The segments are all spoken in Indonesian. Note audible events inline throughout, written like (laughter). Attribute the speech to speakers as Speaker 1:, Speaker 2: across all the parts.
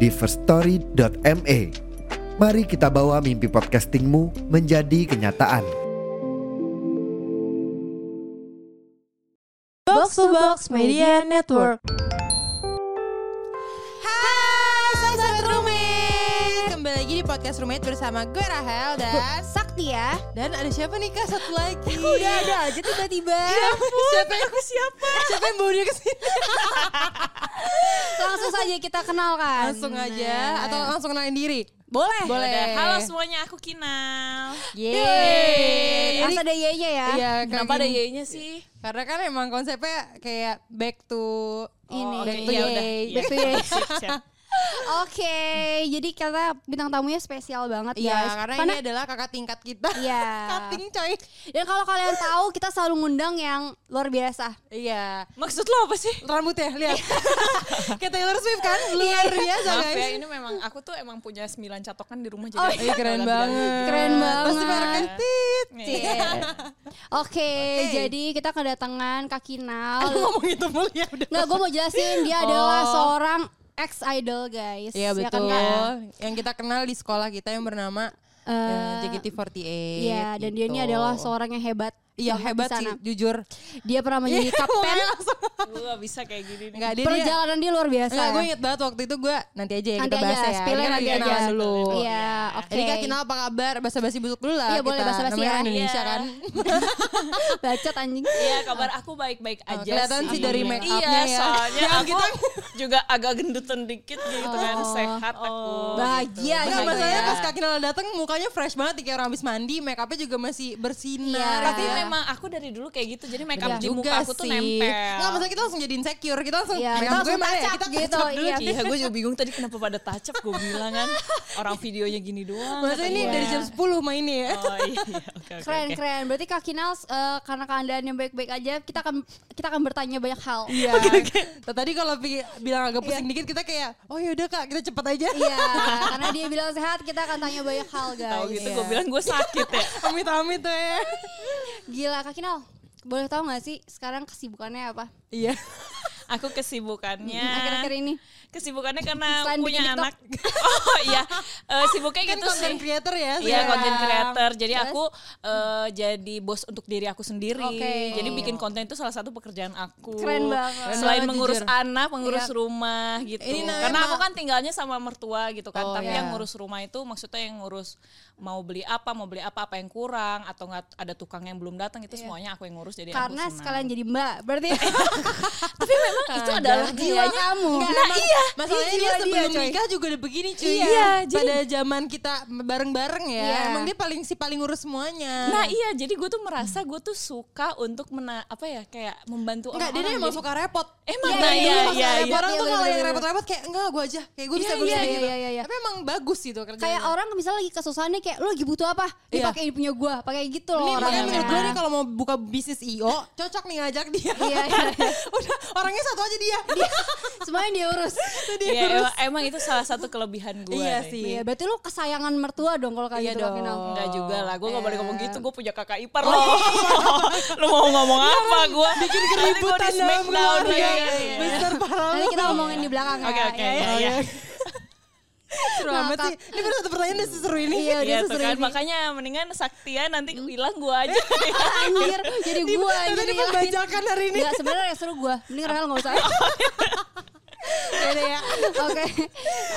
Speaker 1: di firststory.me. Mari kita bawa mimpi podcastingmu menjadi kenyataan.
Speaker 2: Box to Box Media Network.
Speaker 3: Hai, sahabat roommate. Kembali lagi di podcast roommate bersama gue Rahel dan
Speaker 2: Sakti ya.
Speaker 3: dan ada siapa nih kak satu lagi? Eh,
Speaker 2: Udah ada Ya aja tiba-tiba.
Speaker 3: Iya. siapa yang siapa? Siapa yang bawa dia kesini?
Speaker 2: Langsung saja kita kan. Nah. kenalkan.
Speaker 3: Langsung aja atau oh, langsung kenalin diri?
Speaker 2: boleh.
Speaker 3: Boleh.
Speaker 4: Udah. Halo semuanya, aku Kinal.
Speaker 2: Yeay. Harus ada Y-nya ya.
Speaker 3: Iya,
Speaker 4: Kenapa ada
Speaker 3: kayak gini.
Speaker 4: Y-nya sih?
Speaker 3: Karena kan emang konsepnya kayak back to
Speaker 2: Ini.
Speaker 4: Oh, oke,
Speaker 2: Back to
Speaker 4: iya,
Speaker 2: yay.
Speaker 4: udah.
Speaker 2: Back to
Speaker 3: (laughs)
Speaker 4: Iya.
Speaker 2: yay.
Speaker 4: Siap, siap. (laughs)
Speaker 2: Oke, jadi kita bintang tamunya spesial banget
Speaker 3: Iya,
Speaker 2: guys.
Speaker 3: karena, ini adalah kakak tingkat kita.
Speaker 2: Iya.
Speaker 3: (laughs) Cutting coy.
Speaker 2: dan kalau kalian tahu kita selalu ngundang yang luar biasa.
Speaker 3: Iya.
Speaker 4: Maksud lo apa sih?
Speaker 3: Rambutnya lihat. (laughs)
Speaker 2: Iya.
Speaker 3: kayak Taylor Swift kan? Luar biasa
Speaker 4: Maaf
Speaker 3: guys.
Speaker 4: ya, ini memang aku tuh emang punya 9 catokan di rumah jadi
Speaker 2: Oh,
Speaker 4: aku
Speaker 3: Iya, keren
Speaker 4: agak-agak
Speaker 3: banget.
Speaker 4: gitu.
Speaker 2: Keren
Speaker 3: Pasti
Speaker 2: banget.
Speaker 3: mereka tit.
Speaker 4: Iya.
Speaker 2: Oke, jadi kita kedatangan Kak Kinal.
Speaker 3: Aku ngomong itu mulu ya udah. Oh.
Speaker 2: Nggak, gue mau jelasin dia adalah seorang ex idol guys.
Speaker 3: Iya
Speaker 2: Ya
Speaker 3: betul.
Speaker 2: kan, Kak?
Speaker 3: yang kita kenal di sekolah kita yang bernama eh,
Speaker 2: Eh,
Speaker 3: JKT48.
Speaker 2: Iya, dan dia ini
Speaker 3: gitu.
Speaker 2: adalah seorang yang hebat.
Speaker 3: Iya
Speaker 2: banget
Speaker 3: hebat sih,
Speaker 2: di
Speaker 3: Iya,
Speaker 2: sana.
Speaker 3: jujur.
Speaker 2: Dia pernah menjadi
Speaker 3: (laughs)
Speaker 2: kapten.
Speaker 4: Gue gak bisa kayak gini nih.
Speaker 3: Enggak dia dia.
Speaker 2: Perjalanan dia luar biasa. ya.
Speaker 3: Enggak, gue inget banget waktu itu gue nanti aja ya
Speaker 2: nanti
Speaker 3: kita bahas
Speaker 2: aja,
Speaker 3: ya.
Speaker 2: spill
Speaker 3: Ini kan
Speaker 2: nanti
Speaker 3: lagi
Speaker 2: aja.
Speaker 3: kenalan dulu.
Speaker 2: Iya, oke.
Speaker 3: Jadi kak Kinal apa kabar? Basa-basi busuk dulu lah
Speaker 2: Iya, boleh
Speaker 3: kita.
Speaker 2: basa-basi
Speaker 3: Namanya
Speaker 2: ya.
Speaker 3: orang Indonesia
Speaker 4: Iya.
Speaker 3: kan.
Speaker 2: (laughs) Bacot anjing.
Speaker 4: Iya, kabar aku baik-baik aja
Speaker 3: Oh, kelihatan sih dari make up-nya
Speaker 4: Iya,
Speaker 3: ya.
Speaker 4: soalnya aku juga agak gendutan dikit gitu kan,
Speaker 3: Oh.
Speaker 4: sehat aku.
Speaker 3: Nah,
Speaker 4: Iya,
Speaker 2: Bahagia
Speaker 3: Enggak,
Speaker 2: gitu
Speaker 3: masalahnya
Speaker 2: ya.
Speaker 3: pas Kak Kinal datang mukanya fresh banget kayak orang habis mandi, make up-nya juga masih
Speaker 2: Iya.
Speaker 3: bersinar.
Speaker 4: Tapi
Speaker 3: gitu ya.
Speaker 4: memang aku dari dulu kayak gitu, jadi make up
Speaker 3: Iya
Speaker 4: di muka aku tuh
Speaker 3: Nggak,
Speaker 4: nempel.
Speaker 3: maksudnya kita langsung jadi insecure, kita langsung
Speaker 2: Iya,
Speaker 3: make
Speaker 2: kita
Speaker 3: up gue
Speaker 2: langsung
Speaker 3: mana ya?
Speaker 2: tacak
Speaker 3: Kita
Speaker 2: gitu,
Speaker 3: tacak dulu.
Speaker 2: iya.
Speaker 4: Iya, gue
Speaker 2: (laughs)
Speaker 4: juga bingung tadi kenapa pada tacap gue bilang kan orang videonya gini doang.
Speaker 3: Maksudnya ini
Speaker 4: katanya.
Speaker 3: dari jam 10 mainnya ya.
Speaker 4: Iya. Oh iya, oke, oke,
Speaker 2: Keren,
Speaker 4: oke.
Speaker 2: keren. Berarti Kak Kinal eh, karena keadaan yang baik-baik aja, kita akan kita akan bertanya banyak hal.
Speaker 3: (laughs) Iya. Tuh, Tadi kalau pi- bilang agak pusing dikit kita kayak, oh yaudah kak kita cepet aja.
Speaker 2: Iya, karena dia bilang sehat, kita akan tanya banyak hal, guys.
Speaker 4: Tahu gitu
Speaker 2: Iya.
Speaker 4: gue bilang gue sakit
Speaker 2: (laughs)
Speaker 4: ya.
Speaker 3: (laughs) Amit-amit tuh ya.
Speaker 2: Gila, Kak Kinal. Boleh tahu nggak sih sekarang kesibukannya apa?
Speaker 3: Iya.
Speaker 4: Aku kesibukannya.
Speaker 3: Nah.
Speaker 2: Akhir-akhir ini.
Speaker 4: Kesibukannya karena
Speaker 2: Selain
Speaker 4: punya
Speaker 2: bikin
Speaker 4: anak. (laughs) Oh iya, Eh, sibuknya
Speaker 3: Kan
Speaker 4: gitu
Speaker 3: content
Speaker 4: sih.
Speaker 3: creator ya.
Speaker 4: Iya
Speaker 3: sekarang.
Speaker 4: konten creator. Jadi
Speaker 2: Terus?
Speaker 4: aku eh, jadi bos untuk diri aku sendiri.
Speaker 2: Oke.
Speaker 4: Jadi bikin konten itu salah satu pekerjaan aku.
Speaker 2: Keren banget.
Speaker 3: Oh.
Speaker 4: Selain
Speaker 3: Keren banget,
Speaker 4: mengurus
Speaker 3: jujur.
Speaker 4: anak, mengurus
Speaker 2: Iya.
Speaker 4: rumah gitu.
Speaker 3: Ini namanya
Speaker 4: Karena aku
Speaker 3: ma-
Speaker 4: kan tinggalnya sama mertua gitu kan.
Speaker 3: Oh,
Speaker 4: Tapi
Speaker 3: iya.
Speaker 4: yang ngurus rumah itu maksudnya yang ngurus mau beli apa, mau beli apa, apa yang kurang atau nggak ada tukang yang belum datang itu semuanya aku yang ngurus. Jadi aku
Speaker 2: Iya. Karena
Speaker 4: senang.
Speaker 2: sekalian jadi mbak, berarti
Speaker 4: (laughs) Tapi memang itu adalah
Speaker 2: jiwa
Speaker 4: jiwanya
Speaker 2: kamu.
Speaker 4: Nah iya.
Speaker 3: Masalahnya
Speaker 2: Ini
Speaker 3: dia
Speaker 2: jiwa
Speaker 3: sebelum
Speaker 2: dia, coy.
Speaker 3: nikah juga udah begini cuy.
Speaker 4: Iya, Iya, jadi-
Speaker 3: Pada zaman kita bareng-bareng ya.
Speaker 2: Iya.
Speaker 3: Emang dia paling si paling ngurus semuanya.
Speaker 4: Nah iya, jadi gue tuh merasa gue tuh suka untuk mena apa ya kayak membantu
Speaker 3: Enggak, dia
Speaker 4: orang-orang. gitu.
Speaker 3: tuh emang
Speaker 4: Jadi-
Speaker 3: suka repot.
Speaker 4: Emang
Speaker 3: Nah,
Speaker 2: Iya,
Speaker 4: nah,
Speaker 2: iya,
Speaker 4: iya
Speaker 3: dia
Speaker 4: iya
Speaker 3: suka repot.
Speaker 4: iya.
Speaker 3: Orang tuh
Speaker 2: Iya,
Speaker 3: kalau yang
Speaker 2: bener-bener.
Speaker 3: repot-repot kayak enggak gue aja. Kayak gue bisa
Speaker 2: Iya,
Speaker 3: gue bisa
Speaker 2: iya,
Speaker 3: gitu.
Speaker 2: iya, iya, iya.
Speaker 3: Tapi emang bagus gitu kerjanya.
Speaker 2: kayak orang misalnya lagi kesusahannya kayak lu lagi butuh apa? Dia
Speaker 3: Iya.
Speaker 2: pakai ini punya gua, pakai gitu loh
Speaker 3: Ini
Speaker 2: orang.
Speaker 3: makanya menurut gue nih kalau mau buka bisnis IO cocok nih ngajak dia.
Speaker 2: Iya, iya, iya.
Speaker 3: (laughs) Udah orangnya satu aja dia.
Speaker 2: (laughs)
Speaker 3: (laughs)
Speaker 2: semuanya dia
Speaker 4: (laughs)
Speaker 2: urus.
Speaker 4: Iya, emang, emang itu salah satu kelebihan gue.
Speaker 3: Iya
Speaker 4: deh.
Speaker 3: sih.
Speaker 2: Iya, berarti lu kesayangan mertua dong Oh. kalau kayak
Speaker 3: Iya
Speaker 2: gitu Kak
Speaker 3: dong.
Speaker 2: Kinal.
Speaker 4: Enggak juga lah, gue gak boleh ngomong
Speaker 2: Eh.
Speaker 4: gitu, gue punya kakak ipar
Speaker 2: (laughs)
Speaker 4: loh. Lo mau ngomong
Speaker 2: Iya,
Speaker 4: apa gue? Bikin
Speaker 3: Ributan dalam keluarga.
Speaker 4: Iya, iya, iya.
Speaker 3: Besar parah
Speaker 2: Nanti
Speaker 3: lu.
Speaker 2: kita ngomongin di belakang
Speaker 4: Oke,
Speaker 2: ya.
Speaker 4: oke,
Speaker 2: Iya,
Speaker 4: iya,
Speaker 3: (laughs)
Speaker 4: iya.
Speaker 3: Oh, Seru
Speaker 2: Nah,
Speaker 3: amat
Speaker 2: Kak-
Speaker 3: sih. Ini baru satu pertanyaan udah seru ini.
Speaker 2: Iya, dia
Speaker 4: Iya, tuh
Speaker 2: seseru
Speaker 4: kan,
Speaker 2: ini. Hmm.
Speaker 4: makanya mendingan Saktia nanti bilang gue
Speaker 2: (laughs)
Speaker 4: aja.
Speaker 2: Anjir, jadi gua
Speaker 3: Tadi
Speaker 2: anjir. ya.
Speaker 3: tadi pembajakan hari ini. Oh,
Speaker 2: Enggak, sebenarnya yang seru gua. Mending Rahel
Speaker 3: (laughs)
Speaker 2: enggak usah. (laughs)
Speaker 3: Iya, ya.
Speaker 2: Oke.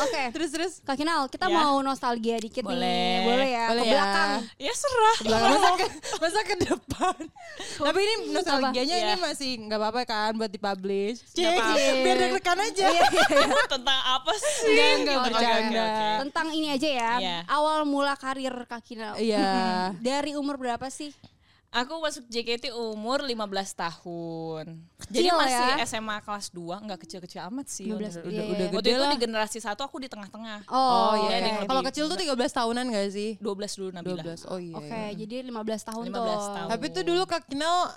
Speaker 2: Oke.
Speaker 3: Terus terus. Iya.
Speaker 2: Kak Kinal, kita
Speaker 4: Ya.
Speaker 2: mau nostalgia dikit
Speaker 4: Boleh.
Speaker 2: nih. Boleh ya,
Speaker 3: Boleh
Speaker 2: ke
Speaker 3: ya.
Speaker 2: belakang.
Speaker 4: ya serah.
Speaker 3: Belakang masa (laughs) ke, masa ke depan. Tapi ini nostalgianya
Speaker 4: Apa?
Speaker 3: ini
Speaker 4: Iya.
Speaker 3: masih nggak apa-apa kan buat dipublish. Cik,
Speaker 4: apa-apa.
Speaker 3: biar deg-degan aja. (laughs) Iya.
Speaker 4: Tentang apa sih?
Speaker 3: Enggak, enggak
Speaker 4: Oke, oke,
Speaker 3: bercanda.
Speaker 4: oke.
Speaker 2: Tentang ini aja ya.
Speaker 4: Iya.
Speaker 2: Awal mula karir Kak Kinal.
Speaker 3: Iya.
Speaker 2: Dari umur berapa sih?
Speaker 4: Aku masuk JKT umur 15 tahun. Jadi
Speaker 2: Kecil
Speaker 4: masih
Speaker 2: ya?
Speaker 4: SMA kelas 2, nggak kecil-kecil amat sih.
Speaker 3: 15, udah,
Speaker 4: Udah,
Speaker 2: iya,
Speaker 3: udah
Speaker 2: iya.
Speaker 4: Waktu
Speaker 3: gede
Speaker 4: itu
Speaker 3: lah.
Speaker 4: di generasi satu aku di tengah-tengah.
Speaker 2: Oh, iya.
Speaker 4: iya, ada
Speaker 2: iya.
Speaker 4: yang
Speaker 3: Kalau kecil tuh 13 tahunan gak sih?
Speaker 4: 12 dulu Nabila.
Speaker 3: 12. Oh iya.
Speaker 2: Oke,
Speaker 3: iya.
Speaker 2: jadi 15 tahun
Speaker 4: 15
Speaker 2: tuh.
Speaker 4: tahun.
Speaker 3: Tapi tuh dulu Kak Kinal